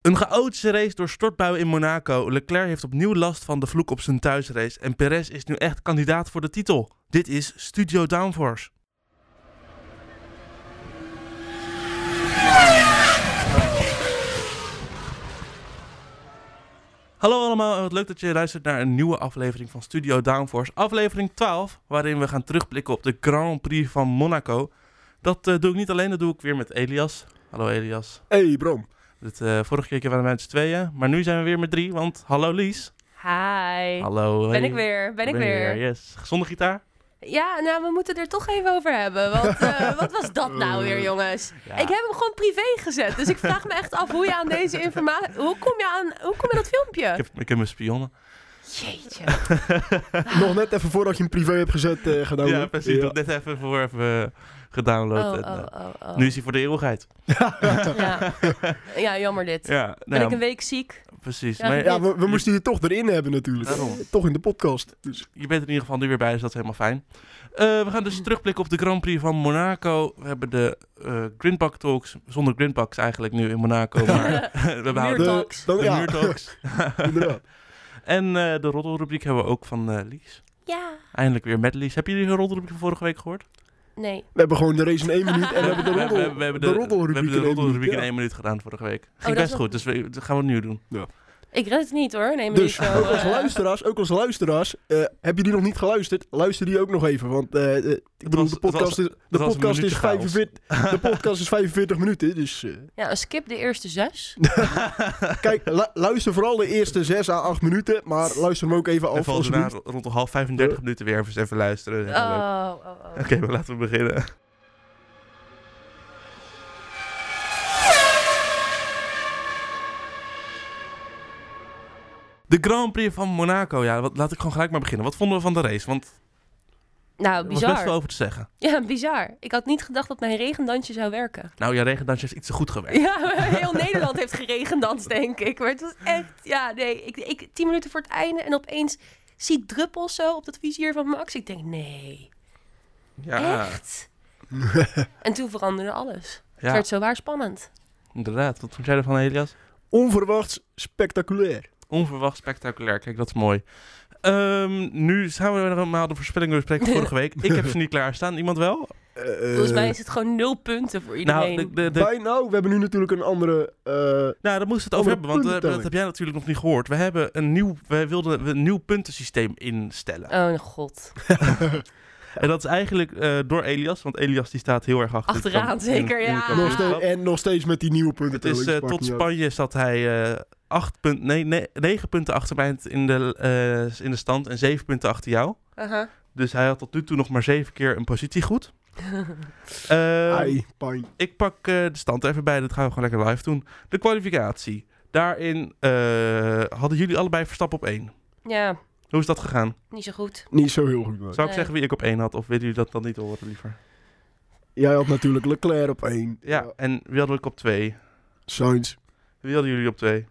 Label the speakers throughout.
Speaker 1: Een chaotische race door stortbuien in Monaco. Leclerc heeft opnieuw last van de vloek op zijn thuisrace. En Perez is nu echt kandidaat voor de titel. Dit is Studio Downforce. Hallo allemaal en wat leuk dat je luistert naar een nieuwe aflevering van Studio Downforce. Aflevering 12, waarin we gaan terugblikken op de Grand Prix van Monaco. Dat eh, doe ik niet alleen, dat doe ik weer met Elias. Hallo Elias.
Speaker 2: Hey Bram.
Speaker 1: Het, eh, vorige keer waren we met z'n tweeën, maar nu zijn we weer met drie, want hallo Lies.
Speaker 3: Hi.
Speaker 1: Hallo.
Speaker 3: Ben
Speaker 1: hey.
Speaker 3: ik weer, ben ik
Speaker 1: je
Speaker 3: weer.
Speaker 1: Yes. Zonder gitaar?
Speaker 3: Ja, nou, we moeten er toch even over hebben. Want eh, wat was dat nou weer, jongens?
Speaker 1: Ja.
Speaker 3: Ik heb hem gewoon privé gezet. Dus ik vraag me echt af hoe je aan deze informatie... Hoe kom je aan hoe kom je aan dat
Speaker 1: Ik
Speaker 3: filmpje?
Speaker 1: heb, ik heb mijn spionnen.
Speaker 3: Jeetje.
Speaker 2: Nog net even voordat je hem privé hebt gezet, eh gedaan.
Speaker 1: ja, precies. Dat net even voor even eh, gedownload.
Speaker 3: Oh,
Speaker 1: en, eh,
Speaker 3: oh, oh, oh.
Speaker 1: Nu is hij voor de eeuwigheid.
Speaker 3: Ja. ja, jammer dit.
Speaker 1: Ja, nou
Speaker 3: Ben
Speaker 1: ja,
Speaker 3: ik een week ziek?
Speaker 1: precies.
Speaker 3: Ja,
Speaker 1: Maar
Speaker 3: ik-
Speaker 2: Ja, we, we moesten je toch erin hebben natuurlijk.
Speaker 1: Daarom.
Speaker 2: Toch in de podcast. Dus.
Speaker 1: je bent er in ieder geval nu weer bij, dus dat is helemaal fijn. Eh, we gaan dus terugblikken op de Grand Prix van Monaco. We hebben de eh Grindbak Talks, zonder Grindbaks eigenlijk nu in Monaco. Maar we behouden
Speaker 3: Muurtalk.
Speaker 1: de,
Speaker 3: Muurtalks.
Speaker 2: dan, ja,
Speaker 1: Muur Talks.
Speaker 2: inderdaad.
Speaker 1: En eh, de roddelrubriek hebben we ook van eh, Lies.
Speaker 3: Ja.
Speaker 1: Eindelijk weer met Lies. Heb jullie de roddelrubriek van vorige week gehoord?
Speaker 3: Nee.
Speaker 2: We hebben gewoon de race in één minuut en we hebben de roddel,
Speaker 1: we, we- we hebben de,
Speaker 2: de roddelrubriek
Speaker 1: we hebben de
Speaker 2: in één
Speaker 1: roddelrubriek in
Speaker 2: minuut,
Speaker 1: één minuut gedaan vorige week. Ging
Speaker 3: Oh, dat
Speaker 1: best
Speaker 3: is wel-
Speaker 1: goed, dus we, dat gaan we opnieuw doen.
Speaker 3: Ik red het niet hoor. Nee,
Speaker 2: ja.
Speaker 3: maar
Speaker 2: Dus
Speaker 3: niet zo,
Speaker 2: ook als
Speaker 3: eh,
Speaker 2: luisteraars, ook als luisteraars eh, heb je die nog niet geluisterd, luister die ook nog even. Want eh, eh, ik bedoel,
Speaker 1: was-
Speaker 2: de
Speaker 1: het
Speaker 2: podcast
Speaker 1: was-
Speaker 2: is- de
Speaker 1: was een
Speaker 2: podcast is
Speaker 1: minuutje chaos.
Speaker 2: 45 de podcast is 45 minuten. Dus eh,
Speaker 3: Ja, skip de eerste zes.
Speaker 2: kijk, lu- luister vooral de eerste 6 à 8 minuten, maar luister hem ook even
Speaker 1: en
Speaker 2: af.
Speaker 1: valt
Speaker 2: alsjeblieft.
Speaker 1: daarna ro- rond de half 35 minuten weer even, even luisteren. Dat is helemaal leuk.
Speaker 3: Oh, oh, oh.
Speaker 1: Oké, maar laten we beginnen. De Grand Prix van Monaco, ja, wat, laat ik gewoon gelijk maar beginnen. Wat vonden we van de race? Want
Speaker 3: Nou,
Speaker 1: er was best wel
Speaker 3: bizar.
Speaker 1: over te zeggen.
Speaker 3: Ja, bizar. Ik had niet gedacht dat mijn regendansje zou werken.
Speaker 1: Nou, jouw regendansje heeft iets te goed gewerkt.
Speaker 3: Ja, heel Nederland heeft geregendanst, denk ik. Maar het was echt, ja, nee. Ik, ik, tien minuten voor het einde en opeens zie ik druppels zo op dat vizier van Max. Ik denk, nee,
Speaker 1: Ja,
Speaker 3: echt? en toen veranderde alles. Het
Speaker 1: ja
Speaker 3: werd zowaar spannend.
Speaker 1: inderdaad. Wat vond jij ervan, Elias?
Speaker 2: Onverwachts spectaculair.
Speaker 1: Onverwacht spectaculair. Kijk, dat is mooi. Ehm, nu gaan we normaal de voorspellingen bespreken van vorige week. Ik heb ze niet klaarstaan. Iemand wel?
Speaker 3: Volgens mij is het gewoon nul punten voor iedereen.
Speaker 1: Nou, de, de, de-
Speaker 2: Bijna, we hebben nu natuurlijk een andere... eh,
Speaker 1: nou, daar moesten we het over
Speaker 2: Andere
Speaker 1: hebben, want eh, dat
Speaker 2: puntentelling.
Speaker 1: heb jij natuurlijk nog niet gehoord. We hebben een nieuw, wij wilden een nieuw puntensysteem instellen.
Speaker 3: Oh, mijn god. Oh.
Speaker 1: En dat is eigenlijk eh, door Elias, want Elias die staat heel erg achter. de
Speaker 3: Achteraan,
Speaker 1: kamp-
Speaker 3: zeker,
Speaker 1: de
Speaker 3: ja.
Speaker 1: kamp-
Speaker 2: nog steeds, en nog steeds met die nieuwe punten.
Speaker 1: Het is eh, tot Spanje zat hij eh acht punt, nee, nee, negen punten achter mij in de, eh, in de stand en zeven punten achter jou.
Speaker 3: Aha.
Speaker 1: Dus hij had tot nu toe nog maar zeven keer een positie goed. Ehm,
Speaker 2: Ai, pijn.
Speaker 1: ik pak eh, de stand er even bij. Dat gaan we gewoon lekker live doen. De kwalificatie. Daarin eh, hadden jullie allebei Verstappen op één.
Speaker 3: Ja,
Speaker 1: Hoe is dat gegaan?
Speaker 3: niet zo goed.
Speaker 2: Niet zo heel goed. maar.
Speaker 1: Zou ik
Speaker 3: Nee.
Speaker 1: zeggen wie ik op één had? Of willen jullie dat dan niet horen liever?
Speaker 2: Jij had natuurlijk Leclerc op één.
Speaker 1: Ja, en wie hadden ik op twee?
Speaker 2: Sainz.
Speaker 1: Wie hadden jullie op twee?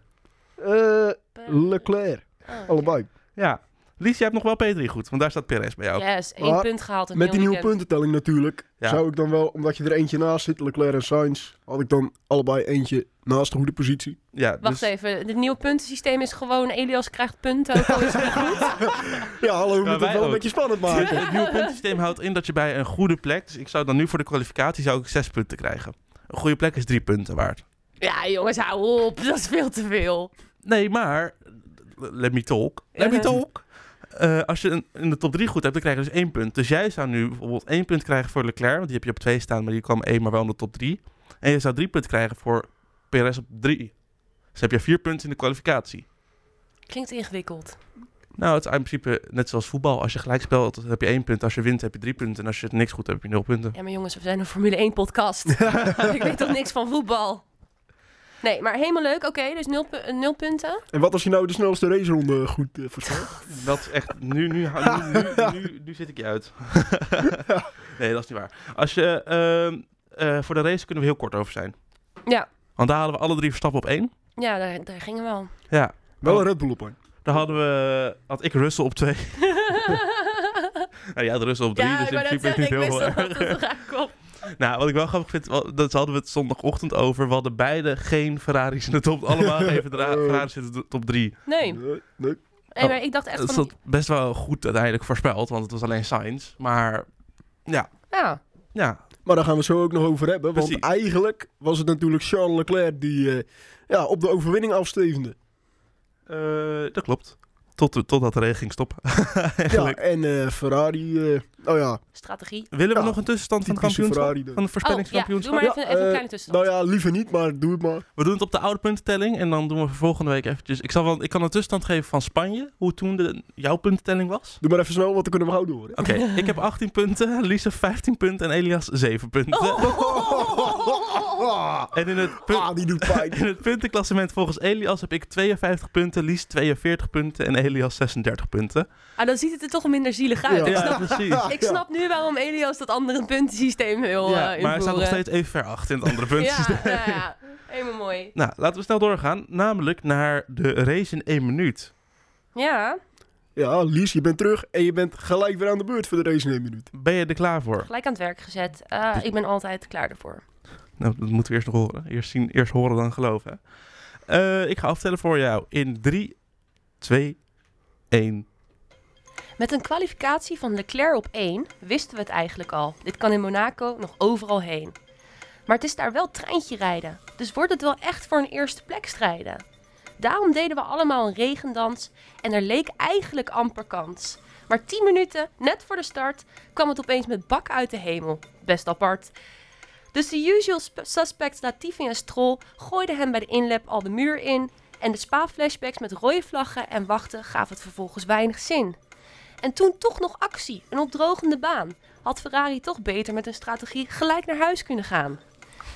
Speaker 2: Eh, Leclerc.
Speaker 3: Oh.
Speaker 2: Allebei.
Speaker 1: Ja. Lies, jij hebt nog wel P3 goed, want daar staat Perez bij jou.
Speaker 3: Yes, één
Speaker 2: Maar
Speaker 3: punt gehaald. in
Speaker 2: Met
Speaker 3: heel
Speaker 2: die nieuwe
Speaker 3: weekend.
Speaker 2: puntentelling natuurlijk.
Speaker 1: Ja.
Speaker 2: Zou ik dan wel, omdat je er eentje naast zit, Leclerc en Sainz, had ik dan allebei eentje naast de goede positie.
Speaker 1: Ja, dus
Speaker 3: Wacht even, het nieuwe puntensysteem is gewoon Elias krijgt punten. Ook al is het niet goed.
Speaker 2: Ja, hallo,
Speaker 1: Ja,
Speaker 2: we moeten
Speaker 1: wij
Speaker 2: het wel
Speaker 1: ook.
Speaker 2: een beetje spannend maken.
Speaker 1: Het nieuwe puntensysteem houdt in dat je bij een goede plek... Dus ik zou dan nu voor de kwalificatie zou ik zes punten krijgen. Een goede plek is drie punten waard.
Speaker 3: Ja, jongens, hou op. Dat is veel te veel.
Speaker 1: Nee, maar... Let me talk. Let me
Speaker 3: Ja.
Speaker 1: talk. Eh, als je een- in de top 3 goed hebt, dan krijg je dus één punt. Dus jij zou nu bijvoorbeeld één punt krijgen voor Leclerc. Want die heb je op twee staan, maar die kwam één, maar wel in de top 3. En je zou drie punten krijgen voor PRS op 3. Dus heb je vier punten in de kwalificatie.
Speaker 3: Klinkt ingewikkeld.
Speaker 1: Nou, het is in principe net zoals voetbal. Als je gelijk speelt, dan heb je één punt. Als je wint, heb je drie punten. En als je het niks goed hebt, heb je nul punten.
Speaker 3: Ja, maar jongens, we zijn een Formule 1 podcast. ik weet toch niks van voetbal. Nee, maar helemaal leuk. Oké, dus nul, pu- eh, nul punten.
Speaker 2: En wat als je nou de snelste raceronde goed eh, voorspelt?
Speaker 1: Dat is echt. Nu, nu, nu, nu, nu- nu zit ik je uit. nee, dat is niet waar. Als je, ehm, eh, voor de race kunnen we heel kort over zijn.
Speaker 3: Ja.
Speaker 1: Want daar hadden we alle drie stappen op één.
Speaker 3: Ja, daar, daar gingen we al.
Speaker 1: Ja.
Speaker 2: Wel een Red Bull op één.
Speaker 1: Daar hadden we, had ik Russell op twee. nou ja, de Russell op drie,
Speaker 3: ja,
Speaker 1: dus in
Speaker 3: wou
Speaker 1: principe
Speaker 3: net zeggen,
Speaker 1: niet heel
Speaker 3: ik wist al
Speaker 1: erg.
Speaker 3: dat het eraan kwam.
Speaker 1: Nou, wat ik wel grappig vind, wel- dat hadden we het zondagochtend over. We hadden beide geen Ferraris in de top. Allemaal even
Speaker 2: Oh.
Speaker 1: Ferraris in de top 3.
Speaker 3: Nee.
Speaker 2: Eh, nee.
Speaker 3: Nee, maar ik dacht echt
Speaker 1: Oh. Dat
Speaker 3: van...
Speaker 1: zat best wel goed uiteindelijk voorspeld, want het was alleen Sainz. Maar
Speaker 3: Ja,
Speaker 1: ja,
Speaker 2: Maar daar gaan we zo ook nog over hebben. Want
Speaker 1: Precies.
Speaker 2: eigenlijk was het natuurlijk Charles Leclerc die eh, ja, op de overwinning afstevende.
Speaker 1: eh, dat klopt. Tot, totdat de regen ging stoppen.
Speaker 2: Ja,
Speaker 1: Eigenlijk.
Speaker 2: en eh, Ferrari, eh, oh ja,
Speaker 3: strategie.
Speaker 1: Willen we
Speaker 2: Ja,
Speaker 1: nog een tussenstand van het
Speaker 2: typische
Speaker 1: kampioenschap?
Speaker 2: Ferrari. dan.
Speaker 1: Van het
Speaker 3: Oh, ja, doe
Speaker 1: voorspellingskampioenschap?
Speaker 3: maar
Speaker 2: Ja,
Speaker 3: even, even een
Speaker 2: eh,
Speaker 3: kleine tussenstand.
Speaker 2: Nou ja, liever niet, maar doe het maar.
Speaker 1: We doen het op de oude puntentelling en dan doen we volgende week eventjes... Ik, zal wel, ik kan een tussenstand geven van Spanje, hoe toen de, jouw puntentelling was.
Speaker 2: Doe maar even snel, want dan kunnen we houden hoor.
Speaker 1: Oké, ik heb 18 punten, Lisa 15 punten en Elias 7 punten. En in het, pun-
Speaker 2: Ah, die doet pijn.
Speaker 1: in het puntenklassement volgens Elias heb ik 52 punten, Lies 42 punten en Elias 36 punten.
Speaker 3: Ah, dan ziet het er toch minder zielig uit. Ik,
Speaker 1: Ja,
Speaker 3: snap,
Speaker 1: precies.
Speaker 3: ik snap nu waarom Elias dat andere puntensysteem wil eh
Speaker 1: Ja, maar hij staat nog
Speaker 3: invoeren.
Speaker 1: steeds even ver achter in het andere punt.
Speaker 3: Ja, nou ja, helemaal mooi.
Speaker 1: Nou, laten we snel doorgaan, namelijk naar de race in 1 minuut.
Speaker 3: Ja,
Speaker 2: Ja, Lies, je bent terug en je bent gelijk weer aan de beurt voor de race in één minuut.
Speaker 1: Ben je er klaar voor?
Speaker 3: gelijk aan het werk gezet. Eh, ik ben altijd klaar ervoor.
Speaker 1: Nou, dat moeten we eerst nog horen. Eerst, zien, eerst horen dan geloven. hè. Eh, ik ga aftellen voor jou in 3, 2, 1.
Speaker 3: Met een kwalificatie van Leclerc op 1 wisten we het eigenlijk al. Dit kan in Monaco nog overal heen. Maar het is daar wel treintje rijden, dus wordt het wel echt voor een eerste plek strijden. Daarom deden we allemaal een regendans en er leek eigenlijk amper kans. Maar 10 minuten, net voor de start, kwam het opeens met bak uit de hemel. Best apart. Dus de usual sp- suspects Latifi en Stroll gooiden hem bij de inlap al de muur in... en de spa-flashbacks met rode vlaggen en wachten gaven het vervolgens weinig zin. En toen toch nog actie, een opdrogende baan. Had Ferrari toch beter met hun strategie gelijk naar huis kunnen gaan.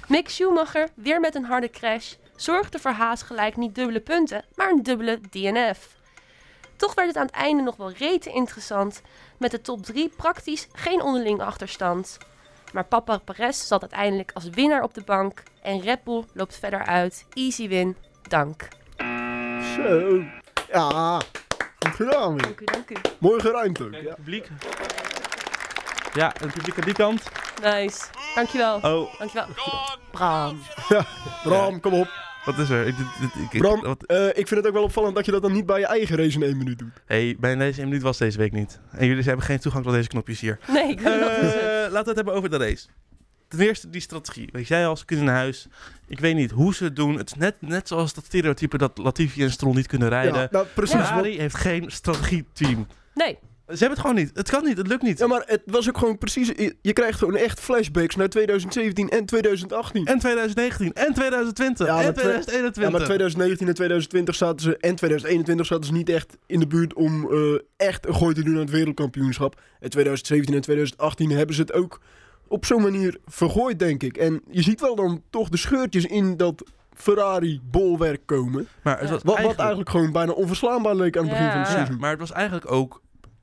Speaker 3: Mick Schumacher, weer met een harde crash, zorgde voor Haas gelijk niet dubbele punten, maar een dubbele DNF. Toch werd het aan het einde nog wel rete interessant, met de top 3 praktisch geen onderling achterstand. Maar Papa Perez zat uiteindelijk als winnaar op de bank en Red Bull loopt verder uit. Easy win, dank.
Speaker 2: Zo. Ja, goed gedaan weer.
Speaker 3: Dank u, dank u.
Speaker 2: Mooi geruimd ook.
Speaker 1: Kijk, het
Speaker 2: Ja.
Speaker 1: publiek. Ja, het publiek aan die kant.
Speaker 3: Nice. Dankjewel.
Speaker 1: Oh,
Speaker 3: Dankjewel. Bram.
Speaker 2: Bram, kom op.
Speaker 1: wat is er? Ik, dit- dit- ik- ik-
Speaker 2: Bram,
Speaker 1: wat-
Speaker 2: eh, ik vind het ook wel opvallend dat je dat dan niet bij je eigen race in één minuut doet.
Speaker 1: hey, bij deze 1 minuut was deze week niet. En jullie hebben geen toegang tot deze knopjes hier.
Speaker 3: Nee, ik wil dat
Speaker 1: Eh,
Speaker 3: niet.
Speaker 1: laten we het hebben over de race. Ten eerste die strategie. Ik zei al, ze kunnen naar huis. Ik weet niet hoe ze het doen. Het is net, net zoals dat stereotype dat Latifi en Stroll niet kunnen rijden.
Speaker 2: Ja, nou, precies. want-
Speaker 1: Ferrari heeft geen strategieteam.
Speaker 3: Nee.
Speaker 1: Ze hebben het gewoon niet. Het kan niet. Het lukt niet.
Speaker 2: Ja, maar het was ook gewoon precies... je- Je krijgt gewoon echt flashbacks naar 2017 en 2018.
Speaker 1: En 2019. En 2020.
Speaker 2: Ja, maar
Speaker 1: en
Speaker 2: twe-
Speaker 1: 2021.
Speaker 2: Ja, maar 2019 en 2020 zaten ze... En 2021 zaten ze niet echt in de buurt om eh, echt een gooi te doen aan het wereldkampioenschap. En 2017 en 2018 hebben ze het ook op zo'n manier vergooid, denk ik. En je ziet wel dan toch de scheurtjes in dat... Ferrari-bolwerk komen.
Speaker 1: Maar het
Speaker 3: Ja.
Speaker 1: was
Speaker 2: Wat, wat
Speaker 1: eigenlijk-
Speaker 2: eigenlijk gewoon bijna onverslaanbaar leek aan het begin van het
Speaker 3: Ja.
Speaker 1: Ja,
Speaker 2: seizoen.
Speaker 1: maar het was eigenlijk ook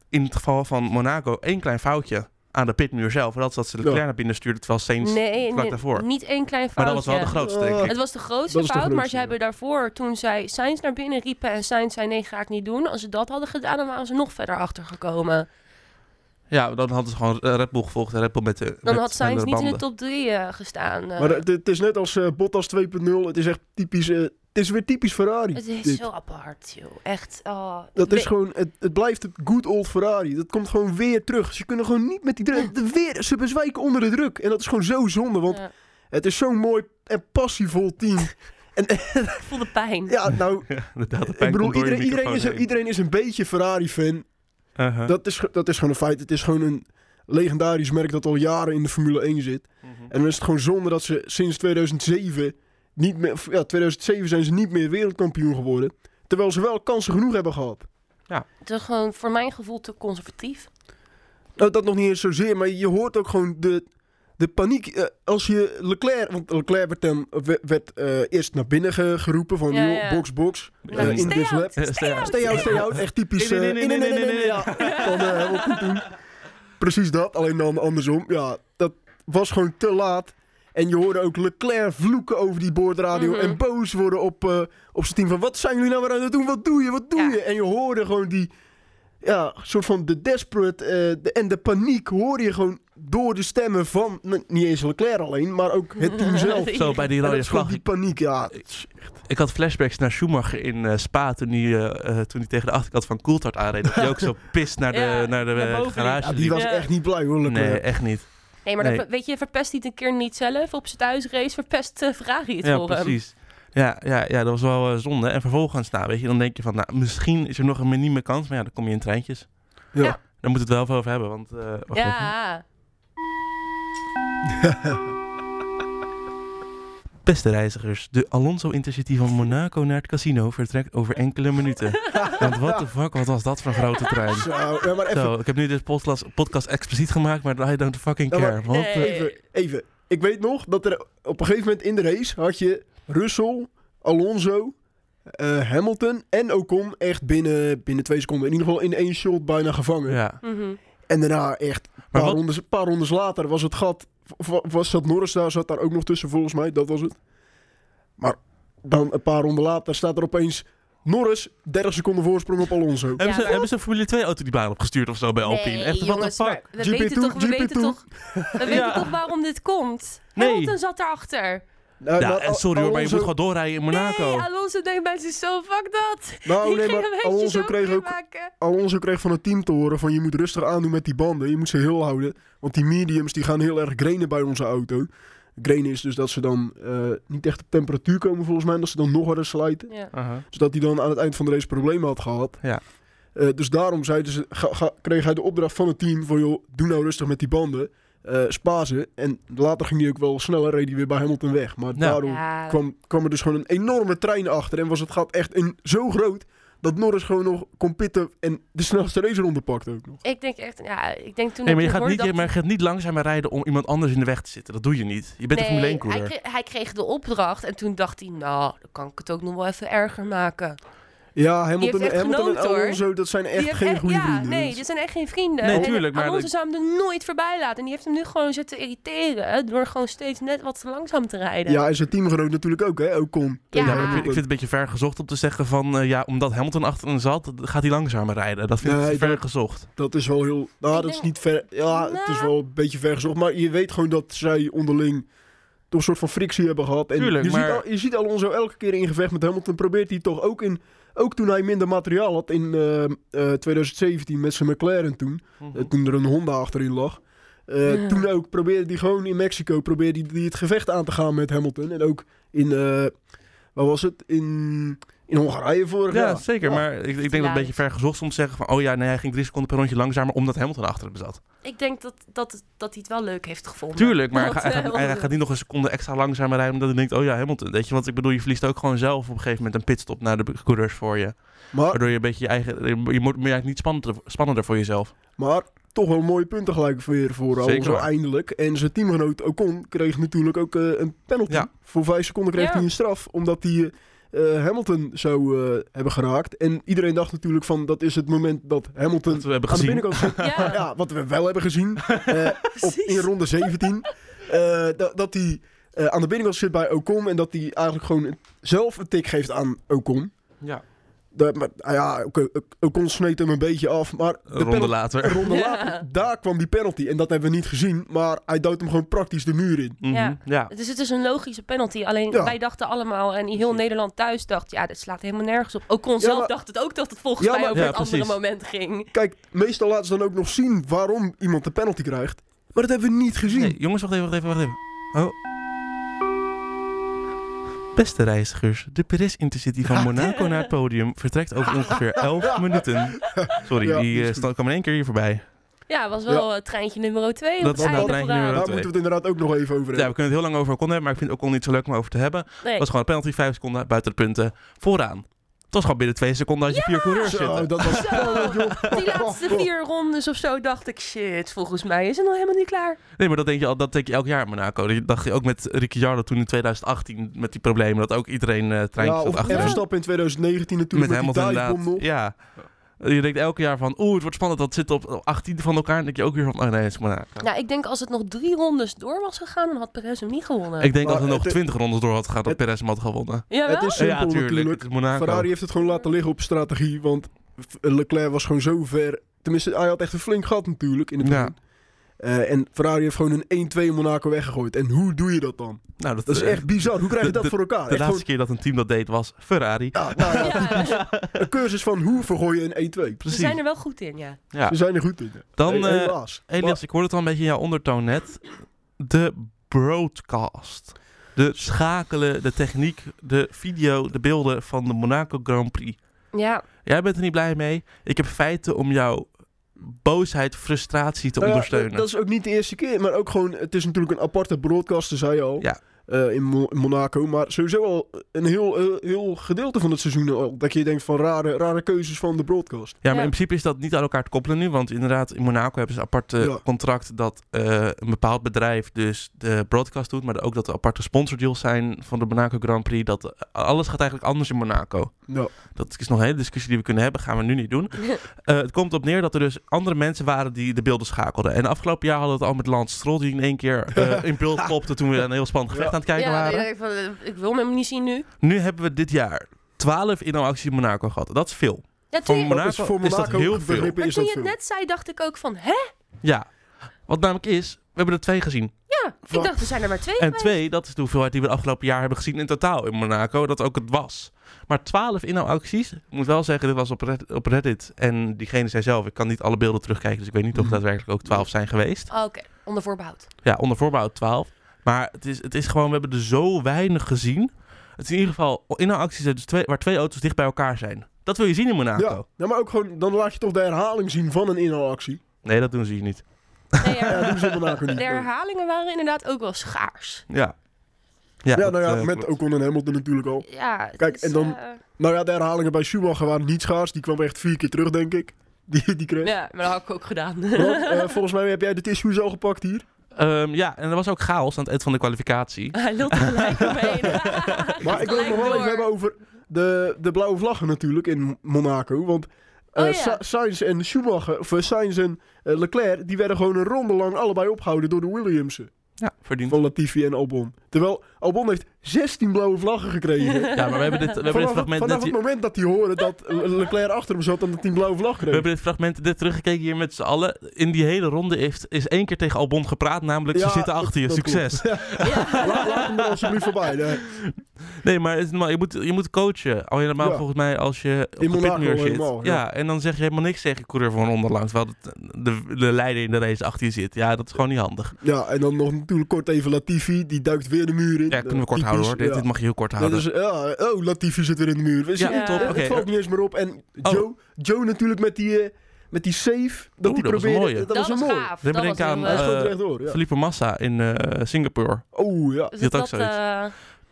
Speaker 1: in het geval van Monaco één klein foutje aan de pitmuur zelf. En dat is dat ze de
Speaker 2: Ja.
Speaker 1: naar binnen stuurde terwijl Sainz...
Speaker 3: Nee,
Speaker 1: vlak
Speaker 3: nee,
Speaker 1: daarvoor.
Speaker 3: niet één klein
Speaker 1: Maar
Speaker 3: foutje. Oh.
Speaker 1: dat was wel de grootste, denk
Speaker 2: Eh,
Speaker 1: ik.
Speaker 3: Het was de grootste
Speaker 2: Dat
Speaker 3: fout,
Speaker 2: is de
Speaker 3: maar
Speaker 2: grootste,
Speaker 3: ze hebben daarvoor, toen zij Sainz naar binnen riepen en Sainz zei nee, ga ik niet doen. Als ze dat hadden gedaan, dan waren ze nog verder achtergekomen.
Speaker 1: Ja, dan hadden ze gewoon eh, Red Bull gevolgd en Red Bull met de
Speaker 3: Dan
Speaker 1: met
Speaker 3: had Sainz
Speaker 1: snellere
Speaker 3: niet in de
Speaker 1: banden.
Speaker 3: top 3 gestaan. eh.
Speaker 2: Maar het, het is net als eh, Bottas 2.0. Het is echt typisch. eh, het is weer typisch Ferrari.
Speaker 3: het is
Speaker 2: dit.
Speaker 3: zo apart, joh. Echt. Oh,
Speaker 2: Dat
Speaker 3: we-
Speaker 2: is gewoon, het, het blijft het good old Ferrari. Dat komt gewoon weer terug. Ze kunnen gewoon niet met die druk. de- Weer, ze bezwijken onder de druk. En dat is gewoon zo zonde, want
Speaker 3: Ja,
Speaker 2: het is zo'n mooi en passievol team.
Speaker 3: ik voel de pijn.
Speaker 2: Ja, nou,
Speaker 1: Ja, inderdaad, de
Speaker 2: ik
Speaker 1: pijn
Speaker 2: bedoel,
Speaker 1: komt door je
Speaker 2: iedereen, iedereen, is,
Speaker 1: microfoon heen.
Speaker 2: iedereen is een beetje Ferrari-fan.
Speaker 1: Uh-huh.
Speaker 2: Dat is, ge- dat is gewoon een feit. Het is gewoon een legendarisch merk dat al jaren in de Formule 1 zit.
Speaker 1: Mhm.
Speaker 2: En dan is het gewoon zonde dat ze sinds 2007 niet meer... of Ja, 2007 zijn ze niet meer wereldkampioen geworden. Terwijl ze wel kansen genoeg hebben gehad.
Speaker 3: Het is gewoon voor mijn gevoel te conservatief.
Speaker 2: Nou, dat nog niet eens zozeer, maar je hoort ook gewoon de, de paniek. eh, als je Leclerc... Want Leclerc werd, hem, we- werd eh, eerst naar binnen ge- geroepen van...
Speaker 3: Ja,
Speaker 2: joh,
Speaker 3: ja.
Speaker 2: box, box. eh,
Speaker 1: Ja,
Speaker 2: in
Speaker 1: stay
Speaker 2: this lab.
Speaker 1: Eh, stay out.
Speaker 2: Stay out, stay out. Echt typisch...
Speaker 1: Nee, nee, nee,
Speaker 2: eh,
Speaker 1: nee, nee, nee,
Speaker 2: ja. Van, eh, wat goed doen. Precies dat, alleen dan andersom. Ja, dat was gewoon te laat. En je hoorde ook Leclerc vloeken over die boordradio
Speaker 3: Mhm.
Speaker 2: en boos worden op, eh, op zijn team. Van wat zijn jullie nou weer aan het doen? Wat doe je? Wat doe
Speaker 3: Ja.
Speaker 2: je? En je hoorde gewoon die, ja, soort van de desperate eh, de- en de paniek hoor je gewoon door de stemmen van, n- niet eens Leclerc alleen, maar ook het team zelf. En
Speaker 1: Zo bij die
Speaker 2: dat
Speaker 1: rode
Speaker 2: is gewoon
Speaker 1: vlag. Eh,
Speaker 2: die paniek, ja.
Speaker 1: Ik had flashbacks naar Schumacher in eh, Spa toen hij, eh, eh, toen hij tegen de achterkant van Coulthard aanreed. Dat hij ook zo pist naar de,
Speaker 3: Ja,
Speaker 1: naar de
Speaker 3: naar
Speaker 1: eh,
Speaker 3: boven
Speaker 1: garage
Speaker 2: Ja, die
Speaker 1: liep.
Speaker 2: was
Speaker 3: Ja.
Speaker 2: echt niet blij hoor, Leclerc.
Speaker 1: Nee, echt niet.
Speaker 3: Nee, maar
Speaker 1: Nee.
Speaker 3: Dan, weet je, verpest niet een keer niet zelf. Op zijn thuisrace verpest eh, Ferrari het
Speaker 1: Ja,
Speaker 3: voor hem.
Speaker 1: precies. Ja, ja, ja, dat was wel eh, zonde. En vervolgens, nou, weet je, dan denk je van, nou, misschien is er nog een minieme kans. Maar ja, dan kom je in treintjes.
Speaker 2: Ja.
Speaker 3: Ja.
Speaker 1: Daar moet het wel even over hebben, want... eh, wacht even.
Speaker 3: Ja,
Speaker 1: Beste reizigers, de Alonso Intercity van Monaco naar het casino vertrekt over enkele minuten. want what the fuck, wat was dat voor een grote trein?
Speaker 2: Zo, ja, maar even,
Speaker 1: Zo, ik heb nu dit podcast, podcast expliciet gemaakt, maar I don't fucking
Speaker 2: Ja, maar-
Speaker 1: care. Wat, eh,
Speaker 3: Nee.
Speaker 2: even, even. Ik weet nog dat er op een gegeven moment in de race had je Russell, Alonso, eh, Hamilton en Ocon echt binnen, binnen twee seconden, in ieder geval in één shot bijna gevangen.
Speaker 1: ja.
Speaker 3: Mhm.
Speaker 2: En daarna echt, een
Speaker 1: Maar
Speaker 2: paar,
Speaker 1: wat-
Speaker 2: rondes, een paar rondes later was het gat, wa- was dat Norris daar, zat daar ook nog tussen volgens mij, dat was het. Maar dan een paar ronden later staat er opeens Norris, 30 seconden voorsprong op Alonso.
Speaker 1: Hebben, ze,
Speaker 3: wat?
Speaker 1: hebben ze een Formule 2-auto die baan opgestuurd of zo bij Alpine?
Speaker 3: Nee,
Speaker 1: Echt, what
Speaker 3: jongens,
Speaker 1: the
Speaker 3: maar
Speaker 1: fuck?
Speaker 3: we
Speaker 2: GP
Speaker 3: weten
Speaker 2: toe,
Speaker 3: toch, we
Speaker 2: GP
Speaker 3: weten
Speaker 2: toe.
Speaker 3: toch, we weten toch waarom dit komt.
Speaker 1: Nee.
Speaker 3: Hamilton zat daarachter.
Speaker 2: Nou,
Speaker 1: Ja,
Speaker 2: nou,
Speaker 1: en sorry hoor, maar je moet
Speaker 2: Alonso-
Speaker 1: gewoon doorrijden in Monaco.
Speaker 3: Nee, Alonso denkt bij zichzelf, fuck dat.
Speaker 2: Nou,
Speaker 3: Die
Speaker 2: nee,
Speaker 3: ging
Speaker 2: maar
Speaker 3: een beetje
Speaker 2: Alonso
Speaker 3: zo
Speaker 2: kreeg
Speaker 3: mee
Speaker 2: ook
Speaker 3: maken.
Speaker 2: Alonso kreeg van het team te horen van je moet rustig aandoen met die banden. Je moet ze heel houden. Want die mediums die gaan heel erg grainen bij onze auto. Grainen is dus dat ze dan eh, niet echt op temperatuur komen volgens mij. En dat ze dan nog harder slijten.
Speaker 3: Ja.
Speaker 1: Aha.
Speaker 2: Zodat hij dan aan het eind van de race problemen had gehad.
Speaker 1: Ja.
Speaker 2: Eh, dus daarom zeiden ze, ga- ga- kreeg hij de opdracht van het team van joh, doe nou rustig met die banden. eh spa ze. En later ging hij ook wel sneller, reed hij weer bij Hamilton weg. Maar
Speaker 1: Ja.
Speaker 2: daarom
Speaker 3: Ja.
Speaker 2: kwam, kwam er dus gewoon een enorme trein achter. En was het gat echt een, zo groot dat Norris gewoon nog kon pitten en de snelste raceronde pakte ook nog.
Speaker 3: Ik denk echt, ja, ik denk toen
Speaker 1: Nee, maar je
Speaker 3: ik
Speaker 1: gaat,
Speaker 3: hoorde
Speaker 1: niet,
Speaker 3: dat-
Speaker 1: maar je gaat niet langzamer rijden om iemand anders in de weg te zitten. Dat doe je niet. Je bent een Formule
Speaker 3: nee,
Speaker 1: 1
Speaker 3: hij,
Speaker 1: coureur.
Speaker 3: kreeg, hij kreeg de opdracht en toen dacht hij, nou, dan kan ik het ook nog wel even erger maken.
Speaker 2: Ja, Hamilton,
Speaker 3: heeft echt
Speaker 2: Hamilton
Speaker 3: genoten,
Speaker 2: en
Speaker 3: hoor.
Speaker 2: Alonso, dat zijn
Speaker 3: Die
Speaker 2: echt
Speaker 3: heeft
Speaker 2: geen
Speaker 3: echt-
Speaker 2: goede
Speaker 3: ja,
Speaker 2: vrienden.
Speaker 3: Nee,
Speaker 2: Dus-
Speaker 3: dit zijn echt geen vrienden.
Speaker 1: Nee,
Speaker 3: En
Speaker 1: tuurlijk, maar
Speaker 3: Alonso
Speaker 1: dat-
Speaker 3: zou hem er nooit voorbij laten. En die heeft hem nu gewoon zitten irriteren hè, door gewoon steeds net wat te langzaam te rijden.
Speaker 2: ja, en zijn teamgenoot natuurlijk ook, hè, Ocon.
Speaker 1: Ja,
Speaker 3: Ja.
Speaker 1: maar ik, vind, ik vind het een beetje ver gezocht om te zeggen van... eh, ja, omdat Hamilton achter hem zat, gaat hij langzamer rijden. Dat vind ik
Speaker 2: Nee,
Speaker 1: ver
Speaker 2: dat-
Speaker 1: gezocht.
Speaker 2: Dat is wel heel... Nou,
Speaker 3: Ik
Speaker 2: dat is
Speaker 3: denk-
Speaker 2: niet ver... Ja, het is
Speaker 3: Nou.
Speaker 2: wel een beetje ver gezocht. Maar je weet gewoon dat zij onderling toch een soort van frictie hebben gehad. En
Speaker 1: Tuurlijk,
Speaker 2: je,
Speaker 1: maar-
Speaker 2: ziet, Al- je ziet Alonso elke keer in gevecht met Hamilton. Probeert hij toch ook in... Ook toen hij minder materiaal had in eh, eh, 2017 met zijn McLaren toen.
Speaker 1: Mhm.
Speaker 2: Eh, toen er een Honda achterin lag. Eh,
Speaker 3: Ja.
Speaker 2: Toen ook probeerde hij gewoon in Mexico probeerde hij die het gevecht aan te gaan met Hamilton. En ook in, eh, wat was het? In, in Hongarije vorig
Speaker 1: Ja,
Speaker 2: jaar.
Speaker 1: zeker.
Speaker 2: Ja.
Speaker 1: Maar ik, ik denk dat het een
Speaker 3: Juist.
Speaker 1: beetje ver gezocht is om te zeggen van... oh ja, nee, hij ging drie seconden per rondje langzamer omdat Hamilton achter hem zat.
Speaker 3: Ik denk dat, dat, dat hij het wel leuk heeft gevonden.
Speaker 1: Tuurlijk, maar hij,
Speaker 3: Want,
Speaker 1: gaat- hij
Speaker 3: eh,
Speaker 1: gaat, hij gaat niet nog een seconde extra langzamer rijden omdat hij denkt... oh ja, Hamilton, weet je. Want ik bedoel, je verliest ook gewoon zelf op een gegeven moment een pitstop naar de coureurs voor
Speaker 2: Oh.
Speaker 1: je.
Speaker 2: Maar,
Speaker 1: Waardoor je een beetje je eigen... Je moet- je wordt eigenlijk niet spannender, spannender voor jezelf.
Speaker 2: maar toch wel mooie punten gelijk weer voor
Speaker 1: Zeker
Speaker 2: Alonso
Speaker 1: waar.
Speaker 2: eindelijk. En zijn teamgenoot Ocon kreeg natuurlijk ook eh, een penalty.
Speaker 1: Ja.
Speaker 2: Voor vijf seconden kreeg
Speaker 3: Ja.
Speaker 2: hij een straf. Omdat hij eh, eh, Hamilton zou eh, hebben geraakt. En iedereen dacht natuurlijk van dat is het moment dat Hamilton...
Speaker 1: Dat we hebben
Speaker 2: aan de
Speaker 1: gezien.
Speaker 2: binnenkant zit.
Speaker 3: Ja.
Speaker 2: ja, wat we wel hebben gezien. Eh, op,
Speaker 3: precies.
Speaker 2: in ronde 17. eh, da- dat hij eh, aan de binnenkant zit bij Ocon. En dat hij eigenlijk gewoon zelf een tik geeft aan Ocon.
Speaker 1: Ja.
Speaker 2: Dat, maar, ah ja, oké, O- Ocon sneed hem een beetje af. Maar de
Speaker 1: Een ronde
Speaker 2: penalty-
Speaker 1: later.
Speaker 2: een ronde
Speaker 3: Ja.
Speaker 2: later, daar kwam die penalty. En dat hebben we niet gezien. Maar hij duwt hem gewoon praktisch de muur in.
Speaker 1: Mhm,
Speaker 3: Ja.
Speaker 1: ja.
Speaker 3: Dus het is een logische penalty. Alleen
Speaker 2: Ja.
Speaker 3: wij dachten allemaal, en heel Nederland thuis dacht, ja, dit slaat helemaal nergens op. Ook
Speaker 2: Ja,
Speaker 3: onszelf
Speaker 2: maar-
Speaker 3: dacht het ook dat het volgens
Speaker 2: Ja,
Speaker 3: mij
Speaker 2: maar-
Speaker 3: over
Speaker 1: Ja,
Speaker 3: het andere
Speaker 1: precies.
Speaker 3: moment ging.
Speaker 2: Kijk, meestal laten ze dan ook nog zien waarom iemand de penalty krijgt. Maar dat hebben we niet gezien.
Speaker 1: Nee, jongens, wacht even, wacht even, wacht even. Oh. Beste reizigers, de Perez Intercity van Monaco naar het podium vertrekt over ongeveer 11 minuten. Sorry,
Speaker 2: Ja,
Speaker 1: die
Speaker 2: is
Speaker 1: eh,
Speaker 2: goed.
Speaker 1: sta- kwam in één keer hier voorbij.
Speaker 3: Ja, was wel eh, treintje nummer 2.
Speaker 1: Dat was nou treintje
Speaker 2: Daar
Speaker 1: nummer-
Speaker 2: moeten we het inderdaad ook nog even
Speaker 1: Ja,
Speaker 2: over hebben.
Speaker 1: we kunnen het heel lang over Ocon hebben, maar ik vind het Ocon niet zo leuk om over te hebben. Het
Speaker 3: Nee.
Speaker 1: was gewoon een penalty, 5 seconden buiten de punten, vooraan. Het was gewoon binnen 2 seconden had je vier coureurs
Speaker 2: Zo,
Speaker 1: zitten.
Speaker 2: dat was Oh,
Speaker 3: Zo, die laatste vier rondes of zo dacht ik, shit, volgens mij is het nog helemaal niet klaar.
Speaker 1: Nee, maar dat denk je, al, dat denk je elk jaar in Monaco. Dat dacht je ook met Ricciardo toen in 2018 met die problemen, dat ook iedereen eh treintjes
Speaker 2: Ja,
Speaker 1: zat
Speaker 2: of
Speaker 1: achter hem.
Speaker 2: Verstappen in 2019
Speaker 1: met,
Speaker 2: natuurlijk met,
Speaker 1: Hamilton
Speaker 2: die
Speaker 1: inderdaad.
Speaker 2: divebom nog.
Speaker 1: Ja. Je denkt elke jaar van, oeh, het wordt spannend, dat zit op 18 van elkaar. En dan denk je ook weer van, oh nee, het is Monaco.
Speaker 3: Nou, ik denk als het nog drie rondes door was gegaan, dan had Perez hem niet gewonnen.
Speaker 1: ik denk dat
Speaker 2: Maar
Speaker 1: er nog
Speaker 2: het-
Speaker 1: 20 rondes door had gegaan dat
Speaker 2: het-
Speaker 1: Perez hem had gewonnen.
Speaker 3: Jawel?
Speaker 2: Het is simpel
Speaker 1: ja, tuurlijk,
Speaker 2: natuurlijk.
Speaker 1: het is Monaco.
Speaker 2: Ferrari heeft het gewoon laten liggen op strategie, want Leclerc was gewoon zo ver. Tenminste, hij had echt een flink gat natuurlijk in het
Speaker 1: Ja.
Speaker 2: begin. Eh, en Ferrari heeft gewoon een 1-2 in Monaco weggegooid. En hoe doe je dat dan?
Speaker 1: Nou, dat,
Speaker 2: Dat is
Speaker 1: eh,
Speaker 2: echt bizar. Hoe krijg je
Speaker 1: de-
Speaker 2: dat voor elkaar?
Speaker 1: De
Speaker 2: Echt
Speaker 1: laatste keer dat een team dat deed was Ferrari.
Speaker 2: gewoon- ja, nou ja,
Speaker 3: Ja,
Speaker 2: een cursus van hoe vergooi je een 1-2.
Speaker 3: we
Speaker 1: Precies.
Speaker 3: zijn er wel goed in, ja.
Speaker 1: Ja.
Speaker 2: Ze zijn er goed in. ja.
Speaker 1: Dan,
Speaker 2: Hey,
Speaker 1: eh,
Speaker 2: helaas. Maar-
Speaker 1: Elias, ik hoorde het al een beetje in jouw ondertoon net. De broadcast. De schakelen, de techniek, de video, de beelden van de Monaco Grand Prix.
Speaker 3: Ja,
Speaker 1: Jij bent er niet blij mee. Ik heb feiten om jouw boosheid, frustratie te
Speaker 2: Nou ja,
Speaker 1: ondersteunen.
Speaker 2: dat- dat is ook niet de eerste keer, maar ook gewoon... Het is natuurlijk een aparte broadcast, dat zei je al.
Speaker 1: Ja.
Speaker 2: eh, in, Mo- in Monaco. Maar sowieso al een heel, eh, heel gedeelte van het seizoen al. Dat je denkt van rare, rare keuzes van de broadcast.
Speaker 1: Ja, maar
Speaker 3: Ja.
Speaker 1: in principe is dat niet aan elkaar te koppelen nu. Want inderdaad, in Monaco hebben ze een apart eh,
Speaker 2: Ja.
Speaker 1: contract dat eh, een bepaald bedrijf dus de broadcast doet. Maar ook dat er aparte sponsordeals zijn van de Monaco Grand Prix. Dat eh, alles gaat eigenlijk anders in Monaco.
Speaker 2: Ja.
Speaker 1: Dat is nog een hele discussie die we kunnen hebben. Gaan we nu niet doen. Eh, het komt op neer dat er dus andere mensen waren die de beelden schakelden. En afgelopen jaar hadden we het al met Lance Stroll die in één keer eh, in beeld klopte toen we een heel spannend gevecht
Speaker 2: Ja.
Speaker 1: aan het kijken
Speaker 3: ja
Speaker 1: waren.
Speaker 3: ik, van, eh, ik wil hem niet zien nu.
Speaker 1: Nu hebben we dit jaar 12 inhoudacties in Monaco gehad. Dat is veel.
Speaker 3: Ja,
Speaker 1: Voor
Speaker 3: toen je, maar
Speaker 1: Monaco
Speaker 2: Dat is voor
Speaker 1: is dat
Speaker 2: Monaco
Speaker 1: heel veel.
Speaker 2: begrippen is
Speaker 3: toen
Speaker 2: dat
Speaker 3: je het
Speaker 2: veel.
Speaker 3: net zei, dacht ik ook van, hè?
Speaker 1: Ja. Wat namelijk is, we hebben er twee gezien.
Speaker 3: Ja, ik
Speaker 2: Wat?
Speaker 3: dacht, er zijn er maar twee.
Speaker 1: En
Speaker 3: geweest.
Speaker 1: twee, dat is de hoeveelheid die we het afgelopen jaar hebben gezien in totaal in Monaco. Dat ook het was. Maar 12 inhoudacties. Ik moet wel zeggen, dit was op Reddit, op Reddit. En diegene zei zelf, ik kan niet alle beelden terugkijken. Dus ik weet niet of
Speaker 2: Mhm.
Speaker 1: daadwerkelijk ook 12 zijn geweest.
Speaker 3: Oh, Oké, onder voorbehoud.
Speaker 1: Ja, onder voorbouw 12. Maar het is, het is gewoon, we hebben er zo weinig gezien. Het is in ieder geval inhoudacties dus twee, waar twee auto's dicht bij elkaar zijn. Dat wil je zien in Monaco.
Speaker 2: Ja. ja, maar ook gewoon, dan laat je toch de herhaling zien van een inhaalactie.
Speaker 1: Nee, dat doen ze hier niet.
Speaker 3: Nee,
Speaker 2: Ja,
Speaker 3: ja,
Speaker 2: dat doen ze in Monaco niet.
Speaker 3: de herhalingen waren inderdaad ook wel schaars.
Speaker 1: Ja.
Speaker 2: ja,
Speaker 1: dat,
Speaker 2: nou ja,
Speaker 1: eh,
Speaker 2: met Ocon en Hamilton natuurlijk al.
Speaker 3: Ja, het
Speaker 2: Kijk,
Speaker 3: is,
Speaker 2: en dan-
Speaker 3: eh,
Speaker 2: Nou ja, de herhalingen bij Schumacher waren niet schaars. Die kwam echt vier keer terug, denk ik. Die, die kreeg.
Speaker 3: ja, maar dat had ik ook gedaan.
Speaker 2: Want, eh, volgens mij heb jij de tissues al gepakt hier.
Speaker 1: Ehm, ja, en er was ook chaos aan het eind van de kwalificatie.
Speaker 3: Hij lult er gelijk omheen. Hij
Speaker 2: Maar
Speaker 3: gaat
Speaker 2: ik wil het nog wel
Speaker 3: gelijk door.
Speaker 2: even hebben over de, de blauwe vlaggen natuurlijk in Monaco. Want eh,
Speaker 3: Oh ja.
Speaker 2: Sa- Sainz en Schumacher, of eh, Sainz en eh, Leclerc, die werden gewoon een ronde lang allebei opgehouden door de Williamsen.
Speaker 1: Ja, verdiend.
Speaker 2: Van Latifi en Albon. Terwijl Albon heeft 16 blauwe vlaggen gekregen.
Speaker 1: Ja, maar we hebben dit, we hebben dit
Speaker 2: vanaf het,
Speaker 1: fragment
Speaker 2: vanaf
Speaker 1: net...
Speaker 2: het
Speaker 1: hier-
Speaker 2: moment dat die hoorde dat eh, Leclerc achter hem zat en dat hij een blauwe vlag
Speaker 1: We
Speaker 2: kreeg.
Speaker 1: hebben dit fragment net teruggekeken hier met z'n allen. In die hele ronde heeft, is één keer tegen Albon gepraat, namelijk ze
Speaker 2: Ja,
Speaker 1: zitten achter je.
Speaker 2: dat klopt.
Speaker 1: Succes.
Speaker 2: La- laat hem er alsjeblieft voorbij. Nee.
Speaker 1: Nee, maar het is normaal. Je, moet, je moet coachen. Al helemaal
Speaker 2: Ja.
Speaker 1: volgens mij als je op
Speaker 2: In
Speaker 1: de
Speaker 2: Monaco
Speaker 1: pitmuur zit.
Speaker 2: helemaal,
Speaker 1: ja.
Speaker 2: ja.
Speaker 1: en dan zeg je helemaal niks tegen je coureur van onderlangs. Terwijl het- eh, de, de leider in de race achter je zit. Ja, dat is gewoon niet handig.
Speaker 2: Ja, en dan nog natuurlijk kort even Latifi. Die duikt weer de muur in. Eh,
Speaker 1: Ja, kunnen we kort
Speaker 2: Typisch,
Speaker 1: houden hoor. Dit,
Speaker 2: ja.
Speaker 1: dit mag je heel kort
Speaker 2: Ja,
Speaker 1: houden.
Speaker 2: dus, ja, oh, Latifi zit weer in de muur. We
Speaker 1: Ja,
Speaker 2: zien-
Speaker 3: top,
Speaker 2: eh,
Speaker 1: oké.
Speaker 2: Het valt niet eens meer op. En
Speaker 1: Oh.
Speaker 2: Joe, Joe natuurlijk met die, eh, met die save. Dat
Speaker 1: Oeh,
Speaker 2: die
Speaker 1: dat was een
Speaker 2: probeerde,
Speaker 1: mooie.
Speaker 3: Dat, was
Speaker 2: mooi.
Speaker 3: gaaf.
Speaker 1: Dit
Speaker 3: Dat
Speaker 1: brengt
Speaker 3: was
Speaker 1: aan,
Speaker 3: heel,
Speaker 2: Hij
Speaker 3: eh,
Speaker 1: eh,
Speaker 2: schoot er echt door. Ja.
Speaker 1: Felipe Massa in eh, Singapore.
Speaker 2: Oh ja.
Speaker 3: dus
Speaker 1: die had
Speaker 3: dat,
Speaker 1: ook zoiets.
Speaker 3: eh,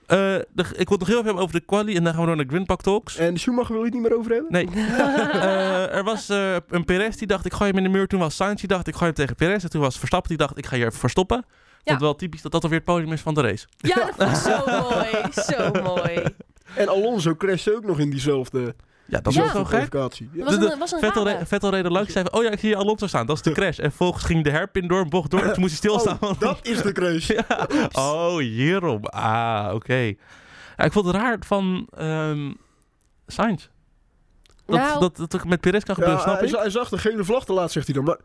Speaker 1: Eh, de- ik wil het nog heel even hebben over de quali. En dan gaan we door naar de Grindpak Talks.
Speaker 2: En Schumacher wil je het niet meer over hebben?
Speaker 1: Nee. Eh, er was eh, een Perez die dacht, ik gooi hem in de muur. Toen was Sainz die dacht, ik gooi hem tegen Perez. En toen was Verstappen die dacht, ik ga je even verstoppen.
Speaker 3: Ja.
Speaker 1: Vond wel typisch dat dat alweer het podium is van de race.
Speaker 3: ja, dat vond ik zo mooi. Zo mooi.
Speaker 2: En Alonso crashte ook nog in diezelfde,
Speaker 1: Ja, dat
Speaker 3: Ja.
Speaker 1: was
Speaker 2: diezelfde
Speaker 1: gewoon gek.
Speaker 2: kwalificatie. Ja.
Speaker 3: Was
Speaker 1: De- de-
Speaker 3: een, was een
Speaker 1: Vettel,
Speaker 3: rare.
Speaker 1: re Vettel reed er langs zei van, oh ja, ik zie Alonso staan, dat is de crash. En volgens ging de herpin door een bocht door en toen moest hij stilstaan.
Speaker 2: Oh, dat is de crash.
Speaker 1: Ja. Oh, hierom. Ah, oké. Ja, ik vond het raar van ehm Sainz. Dat,
Speaker 3: Nou.
Speaker 1: dat, dat ook met Perez kan gebeuren,
Speaker 2: Ja,
Speaker 1: snap
Speaker 2: hij,
Speaker 1: ik?
Speaker 2: za- hij zag de gele vlag te laat, zegt hij dan. Maar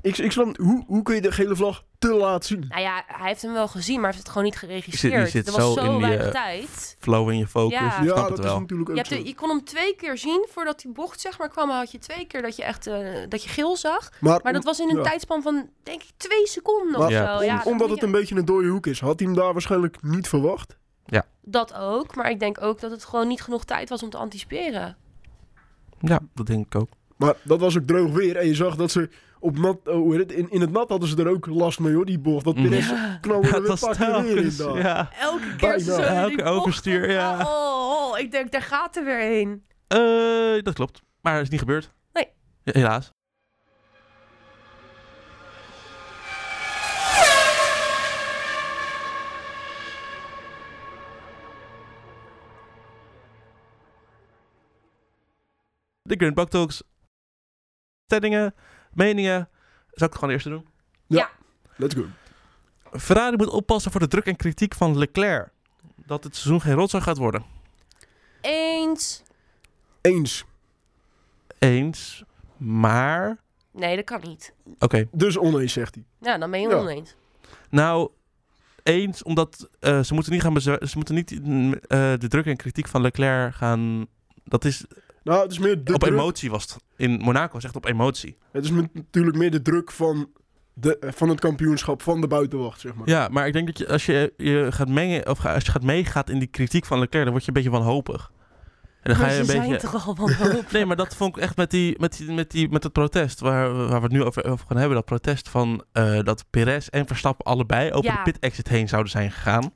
Speaker 2: ik, ik snap, hoe, hoe kun je de gele vlag te laat zien?
Speaker 3: Nou ja, hij heeft hem wel gezien, maar hij heeft het gewoon niet geregistreerd.
Speaker 1: Je zit- je zit
Speaker 3: er was
Speaker 1: zo
Speaker 3: zo,
Speaker 1: in die,
Speaker 3: weinig
Speaker 1: eh,
Speaker 3: tijd.
Speaker 1: Flow in je focus,
Speaker 3: Ja.
Speaker 1: ik snap
Speaker 2: dat
Speaker 1: het
Speaker 2: is
Speaker 1: wel.
Speaker 2: natuurlijk
Speaker 3: Je,
Speaker 2: ook
Speaker 3: hebt
Speaker 2: zo.
Speaker 3: de- je kon hem twee keer zien voordat die bocht zeg maar kwam. Had je twee keer dat je echt eh, dat je geel zag. Maar dat was in een
Speaker 2: Ja.
Speaker 3: tijdspan van denk ik twee seconden of
Speaker 2: Maar
Speaker 1: Ja,
Speaker 3: zo.
Speaker 2: om-
Speaker 3: Ja, dat
Speaker 2: omdat
Speaker 3: moet
Speaker 2: het
Speaker 3: je-
Speaker 2: een beetje een dode hoek is, had hij hem daar waarschijnlijk niet verwacht.
Speaker 3: Dat ook, maar ik denk ook dat het gewoon niet genoeg tijd was om te anticiperen.
Speaker 1: Ja, dat denk ik ook.
Speaker 2: Maar dat was ook droog weer. En je zag dat ze op nat, eh, hoe heet het, in, in het nat hadden ze er ook last mee, hoor, die bocht. Dat
Speaker 1: Mm.
Speaker 2: Perez knalde
Speaker 1: Dat
Speaker 2: er weer een
Speaker 1: was
Speaker 2: paar keer weer
Speaker 1: telkens,
Speaker 2: in. daar.
Speaker 1: ja.
Speaker 3: Elke keer
Speaker 2: Bijna.
Speaker 3: als ze zo in
Speaker 1: Elke
Speaker 3: die bocht
Speaker 1: overstuur,
Speaker 3: gaan,
Speaker 1: ja.
Speaker 3: Oh, oh, ik denk, daar gaat er weer heen.
Speaker 1: Eh, dat klopt. Maar het is niet gebeurd.
Speaker 3: Nee.
Speaker 1: Ja, helaas. De Grand Buck Talks. Stellingen, meningen. Zal ik het gewoon eerst doen?
Speaker 2: Let's go.
Speaker 1: Ferrari moet oppassen voor de druk en kritiek van Leclerc. Dat het seizoen geen rotzooi gaat worden.
Speaker 3: Eens.
Speaker 2: Eens.
Speaker 1: Eens, maar...
Speaker 3: Nee, dat kan niet.
Speaker 1: Oké,
Speaker 2: Dus oneens, zegt hij.
Speaker 3: Nou, dan ben je
Speaker 2: Ja.
Speaker 3: oneens.
Speaker 1: nou... Eens, omdat eh, ze moeten niet, gaan bezwa- ze moeten niet mm, eh, de druk en kritiek van Leclerc gaan... Dat is,
Speaker 2: Nou, het is meer de
Speaker 1: op
Speaker 2: druk.
Speaker 1: emotie was het. In Monaco was het echt op emotie.
Speaker 2: Het is met- natuurlijk meer de druk van, de, eh, van het kampioenschap, van de buitenwacht, zeg maar.
Speaker 1: Ja, maar ik denk dat je, als je, je gaat mengen, of ga- als je gaat meegaat in die kritiek van Leclerc, dan word je een beetje wanhopig. En dan ga
Speaker 3: Maar
Speaker 1: je
Speaker 3: ze
Speaker 1: een
Speaker 3: zijn
Speaker 1: beetje...
Speaker 3: toch al wanhopig?
Speaker 1: Nee, maar dat vond ik echt met, die, met, die, met, die, met het protest waar, waar we het nu over, over gaan hebben. Dat protest van eh, dat Perez en Verstappen allebei over
Speaker 3: Ja.
Speaker 1: de pit-exit heen zouden zijn gegaan.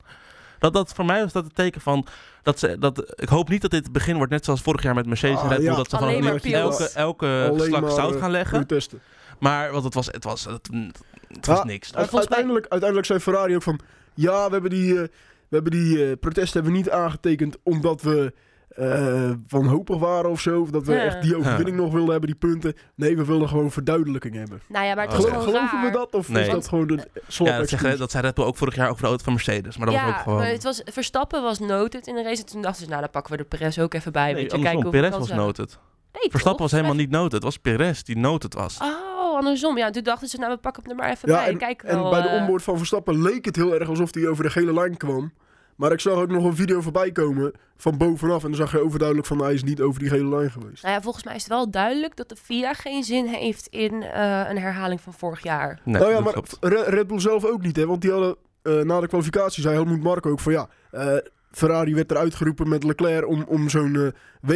Speaker 1: Dat, dat voor mij was dat het teken van... Dat ze, dat, ik hoop niet dat dit het begin wordt, net zoals vorig jaar met Mercedes en
Speaker 2: Ah,
Speaker 1: Red Bull.
Speaker 2: ja.
Speaker 1: Dat ze
Speaker 3: Alleen
Speaker 1: van
Speaker 3: maar
Speaker 1: elke,
Speaker 3: pils.
Speaker 1: elke, elke
Speaker 2: Alleen
Speaker 1: slak
Speaker 2: maar,
Speaker 1: zout
Speaker 2: eh,
Speaker 1: gaan leggen.
Speaker 2: Protesten.
Speaker 1: Maar want het was, het was, het, mm, het was
Speaker 2: Ah,
Speaker 1: niks.
Speaker 3: volgens mij-
Speaker 2: uiteindelijk, uiteindelijk zei Ferrari ook van... Ja, we hebben die, eh, we hebben die eh, protesten hebben we niet aangetekend omdat we eh wanhopig waren of zo. Of dat we
Speaker 3: Ja.
Speaker 2: echt die overwinning nog wilden hebben, die punten. Nee, we wilden gewoon verduidelijking hebben.
Speaker 3: nou ja, maar het is
Speaker 1: Oh.
Speaker 2: Gelo-
Speaker 3: gewoon
Speaker 2: geloven
Speaker 3: raar.
Speaker 2: we dat? Of
Speaker 1: Nee.
Speaker 2: is dat gewoon een slap
Speaker 1: Ja, dat, zeggen, dat zei Red Bull ook vorig jaar over de auto van Mercedes. Maar dat
Speaker 3: ja,
Speaker 1: was ook gewoon...
Speaker 3: maar het was, Verstappen was noted in de race. En toen dachten ze, nou, dan pakken we de Perez ook even bij.
Speaker 1: Nee,
Speaker 3: weet je,
Speaker 1: andersom,
Speaker 3: kijken
Speaker 1: Perez
Speaker 3: hoeveel
Speaker 1: was
Speaker 3: kansen-
Speaker 1: noted.
Speaker 3: Nee, toch?
Speaker 1: Verstappen was helemaal niet noted. Het was Perez die noted was.
Speaker 3: Oh, andersom. Ja, toen dachten ze, nou, we pakken hem er maar even
Speaker 2: Ja,
Speaker 3: bij. Kijk
Speaker 2: En
Speaker 3: wel,
Speaker 2: bij de
Speaker 3: eh,
Speaker 2: onboard van Verstappen leek het heel erg alsof hij over de gele lijn kwam. Maar ik zag ook nog een video voorbij komen van bovenaf. En dan zag je overduidelijk van hij is niet over die gele lijn geweest.
Speaker 3: Nou ja, volgens mij is het wel duidelijk dat de FIA geen zin heeft in eh, een herhaling van vorig jaar.
Speaker 1: Nee,
Speaker 2: nou ja,
Speaker 1: dat
Speaker 2: maar
Speaker 1: klopt.
Speaker 2: Re- Red Bull zelf ook niet, hè? Want die hadden eh, na de kwalificatie, zei Helmoet Marko ook van ja. eh, Ferrari werd eruit geroepen met Leclerc om, om zo'n eh,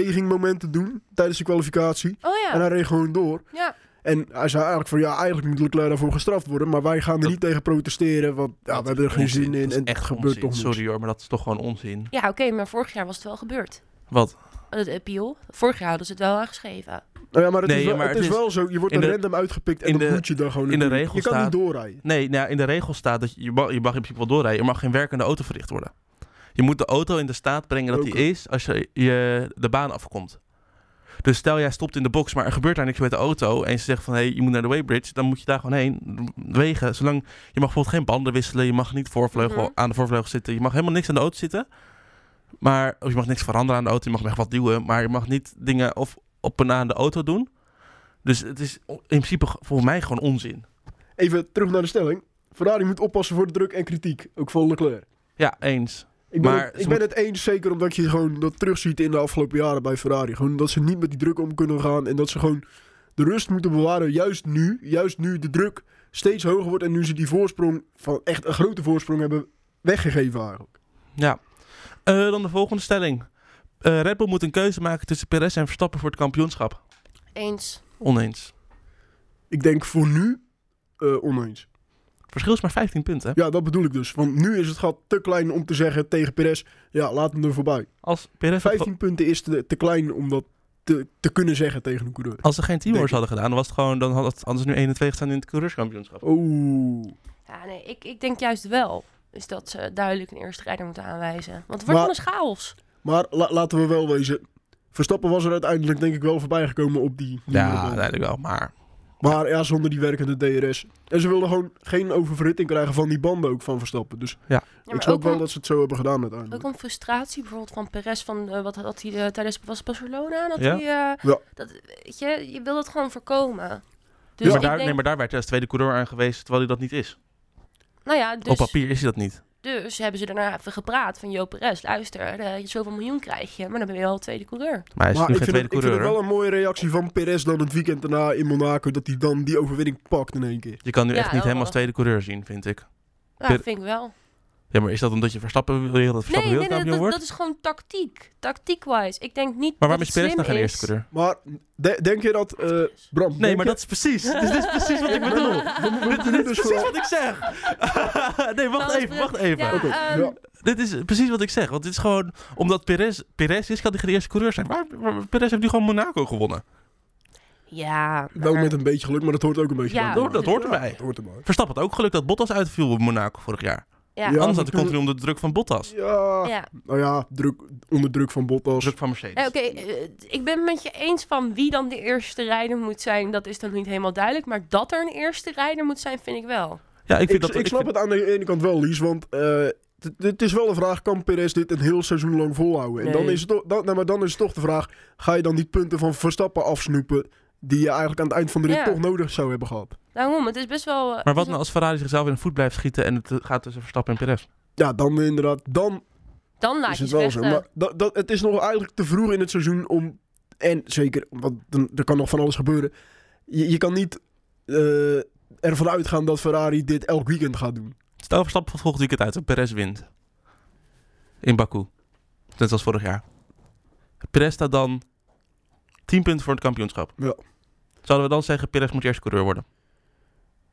Speaker 2: wegingmoment te doen tijdens de kwalificatie.
Speaker 3: Oh
Speaker 2: En
Speaker 3: ja,
Speaker 2: hij reed gewoon door.
Speaker 3: ja.
Speaker 2: En hij zei eigenlijk van ja, eigenlijk moet Leclerc daarvoor gestraft worden. Maar wij gaan er
Speaker 1: Dat-
Speaker 2: niet tegen protesteren, want ja, we hebben er geen
Speaker 1: Onzin.
Speaker 2: zin in.
Speaker 1: Dat is
Speaker 2: En het
Speaker 1: echt
Speaker 2: gebeurt toch
Speaker 1: onzin.
Speaker 2: niks.
Speaker 1: Sorry hoor, maar dat is toch gewoon onzin.
Speaker 3: ja oké, maar vorig jaar was het wel gebeurd.
Speaker 1: Wat?
Speaker 3: Het appeal. Vorig jaar hadden ze het wel aangeschreven.
Speaker 2: Nou ja, maar het,
Speaker 1: Nee,
Speaker 2: is, wel,
Speaker 1: ja, maar
Speaker 2: het
Speaker 1: het
Speaker 2: is
Speaker 1: is-
Speaker 2: wel zo. Je wordt
Speaker 1: in
Speaker 2: er
Speaker 1: de-
Speaker 2: random uitgepikt en
Speaker 1: in
Speaker 2: dan
Speaker 1: de-
Speaker 2: moet je daar gewoon
Speaker 1: in de
Speaker 2: naartoe.
Speaker 1: regel
Speaker 2: Je kan
Speaker 1: staat-
Speaker 2: niet doorrijden.
Speaker 1: Nee, nou, in de regel staat dat je, je, mag, je mag in principe wel doorrijden. Er mag geen werk aan de auto verricht worden. Je moet de auto in de staat brengen dat die
Speaker 2: Roken.
Speaker 1: is als je, je de baan afkomt. Dus stel jij stopt in de box, maar er gebeurt daar niks met de auto. En ze zegt van, hé, hey, je moet naar de weybridge. Dan moet je daar gewoon heen. Wegen, zolang... Je mag bijvoorbeeld geen banden wisselen. Je mag niet voorvleugel,
Speaker 3: Mhm.
Speaker 1: aan de voorvleugel zitten. Je mag helemaal niks aan de auto zitten. Maar of je mag niks veranderen aan de auto. Je mag echt wat duwen. Maar je mag niet dingen of op en aan de auto doen. Dus het is in principe volgens mij gewoon onzin.
Speaker 2: Even terug naar de stelling. Ferrari moet oppassen voor de druk en kritiek. Ook van Leclerc.
Speaker 1: Ja, eens.
Speaker 2: Ik ben,
Speaker 1: Maar
Speaker 2: het,
Speaker 1: ze
Speaker 2: ik ben het eens zeker omdat je gewoon dat terugziet in de afgelopen jaren bij Ferrari. Gewoon dat ze niet met die druk om kunnen gaan. En dat ze gewoon de rust moeten bewaren. Juist nu, juist nu de druk steeds hoger wordt. En nu ze die voorsprong, van echt een grote voorsprong hebben weggegeven eigenlijk.
Speaker 1: Ja. Eh, dan de volgende stelling. Eh, Red Bull moet een keuze maken tussen Perez en Verstappen voor het kampioenschap.
Speaker 3: Eens.
Speaker 1: Oneens.
Speaker 2: Ik denk voor nu eh, oneens.
Speaker 1: Verschil is maar 15 punten. hè?
Speaker 2: Ja, dat bedoel ik dus. Want nu is het gat te klein om te zeggen tegen Perez, ja, laat hem er voorbij.
Speaker 1: Als, Perez had ge-
Speaker 2: 15 punten is te, te klein om dat te, te kunnen zeggen tegen een coureur.
Speaker 1: als ze geen teamwork
Speaker 2: Denk ik.
Speaker 1: hadden gedaan, dan, was het gewoon, dan had het anders nu 1 en 2 gestaan in het coureurskampioenschap.
Speaker 2: Oeh.
Speaker 3: Ja, nee, ik, ik denk juist wel. Dus dat ze duidelijk een eerste rijder moeten aanwijzen. Want het wordt
Speaker 2: Maar-
Speaker 3: anders chaos.
Speaker 2: Maar la- laten we wel wezen. Verstappen was er uiteindelijk denk ik wel voorbij gekomen op die. die
Speaker 1: Ja,
Speaker 2: middenband.
Speaker 1: uiteindelijk wel. Maar
Speaker 2: Maar ja, zonder die werkende DRS. En ze wilden gewoon geen oververhitting krijgen van die banden ook van Verstappen. Dus
Speaker 3: Ja,
Speaker 2: ik
Speaker 3: maar
Speaker 2: snap
Speaker 3: ook,
Speaker 2: wel
Speaker 3: om,
Speaker 2: dat ze het zo hebben gedaan
Speaker 3: ook
Speaker 2: uiteindelijk.
Speaker 3: om frustratie bijvoorbeeld van Perez. Van, eh, wat had hij eh, tijdens was het Barcelona? Dat
Speaker 1: Ja.
Speaker 3: hij, eh,
Speaker 2: Ja.
Speaker 3: dat, weet je, je wil dat gewoon voorkomen.
Speaker 1: ja,
Speaker 3: Dus
Speaker 1: maar,
Speaker 3: ik
Speaker 1: daar,
Speaker 3: denk,
Speaker 1: nee, maar daar werd hij als tweede coureur aan geweest, terwijl hij dat niet is.
Speaker 3: nou ja, dus,
Speaker 1: Op papier is hij dat niet.
Speaker 3: dus hebben ze daarna even gepraat van Joop Perez, luister, eh, zoveel miljoen krijg je, maar dan ben je wel tweede coureur.
Speaker 1: Maar hij is
Speaker 2: Maar
Speaker 1: nu
Speaker 2: ik
Speaker 1: geen
Speaker 2: vind,
Speaker 1: tweede
Speaker 2: het, ik vind het
Speaker 1: coureur.
Speaker 2: wel
Speaker 1: hoor.
Speaker 2: een mooie reactie van Perez dan het weekend daarna in Monaco. Dat hij dan die overwinning pakt in één keer.
Speaker 1: Je kan nu
Speaker 3: Ja,
Speaker 1: echt niet
Speaker 3: wel
Speaker 1: hem als
Speaker 3: wel.
Speaker 1: tweede coureur zien, vind ik.
Speaker 3: Ja,
Speaker 1: Per-
Speaker 3: vind ik wel.
Speaker 1: Ja, maar is dat omdat je Verstappen wil dat
Speaker 3: Nee,
Speaker 1: Verstappen
Speaker 3: nee, nee,
Speaker 1: wereldkampioen
Speaker 3: dat,
Speaker 1: wordt?
Speaker 3: dat is gewoon tactiek. Tactiek-wise. Ik denk niet
Speaker 1: maar
Speaker 3: dat
Speaker 1: waarom is
Speaker 3: het
Speaker 1: Perez
Speaker 3: slim
Speaker 1: dan geen
Speaker 3: is.
Speaker 1: eerste coureur?
Speaker 2: Maar de- denk je dat. eh, Bram.
Speaker 1: Nee,
Speaker 2: denk
Speaker 1: maar
Speaker 2: je-
Speaker 1: dat is precies. Dus dit is precies wat ik
Speaker 2: Ja,
Speaker 1: bedoel.
Speaker 2: maar we moeten-
Speaker 1: Dit,
Speaker 2: we moeten
Speaker 1: dit is
Speaker 2: dus
Speaker 1: precies
Speaker 2: vooral-
Speaker 1: wat ik zeg. nee, wacht
Speaker 3: Alles
Speaker 1: even, wacht even.
Speaker 3: Nou,
Speaker 2: Oké,
Speaker 3: Ja, ehm,
Speaker 2: ja.
Speaker 1: Dit is precies wat ik zeg. Want dit is gewoon, omdat Perez, Perez is, kan hij geen eerste coureur zijn. Maar, maar Perez heeft nu gewoon Monaco gewonnen.
Speaker 3: Ja,
Speaker 2: Wel
Speaker 3: maar-
Speaker 2: Nou, met een beetje geluk, maar dat hoort ook een beetje
Speaker 3: Ja,
Speaker 2: bij.
Speaker 1: Dat, dat hoort
Speaker 2: Ja,
Speaker 1: erbij.
Speaker 2: dat hoort erbij.
Speaker 1: Verstappen had ook geluk dat Bottas uitviel op Monaco vorig jaar.
Speaker 3: ja.
Speaker 2: Ja,
Speaker 1: Anders had
Speaker 2: maar
Speaker 1: hij
Speaker 2: toen-
Speaker 1: continu onder de druk van Bottas.
Speaker 2: Ja.
Speaker 3: Ja.
Speaker 2: Nou ja, druk, onder druk van Bottas.
Speaker 1: Druk van Mercedes.
Speaker 3: Eh, Oké, eh, ik ben het met je eens van wie dan de eerste rijder moet zijn. Dat is dan niet helemaal duidelijk. Maar dat er een eerste rijder moet zijn, vind ik wel.
Speaker 1: Ja, ik
Speaker 2: Ik,
Speaker 1: vind
Speaker 2: ik,
Speaker 1: dat... ik
Speaker 2: snap
Speaker 1: vind-
Speaker 2: het aan de ene kant wel, Lies, want eh, Het- Het is wel een vraag, kan Perez dit een heel seizoen lang volhouden? En dan
Speaker 3: Nee.
Speaker 2: is het, toch- dan, nou, maar dan is het toch de vraag, ga je dan die punten van Verstappen afsnoepen... die je eigenlijk aan het eind van de rit
Speaker 3: Ja.
Speaker 2: toch nodig zou hebben gehad?
Speaker 3: Daarom, het is best wel... eh,
Speaker 1: Maar
Speaker 3: het
Speaker 1: wat
Speaker 3: is
Speaker 1: nou als Ferrari zichzelf in de voet blijft schieten en het eh, gaat tussen Verstappen en Perez?
Speaker 2: Ja, dan inderdaad, dan
Speaker 3: wel- Dan laat
Speaker 2: is
Speaker 3: Nou, je eh,
Speaker 2: het wel
Speaker 3: het vechten.
Speaker 2: zo. Maar dat, dat, het is nog eigenlijk te vroeg in het seizoen om... En zeker, want dan- er kan nog van alles gebeuren. Je, je kan niet eh, ervan uitgaan dat Ferrari dit elk weekend gaat doen.
Speaker 1: Stel Verstappen van volgend weekend uit en Perez wint. In Baku. Net als vorig jaar. Perez staat dan 10 punten voor het kampioenschap.
Speaker 2: Ja.
Speaker 1: Zouden we dan zeggen, Perez moet eerst coureur worden?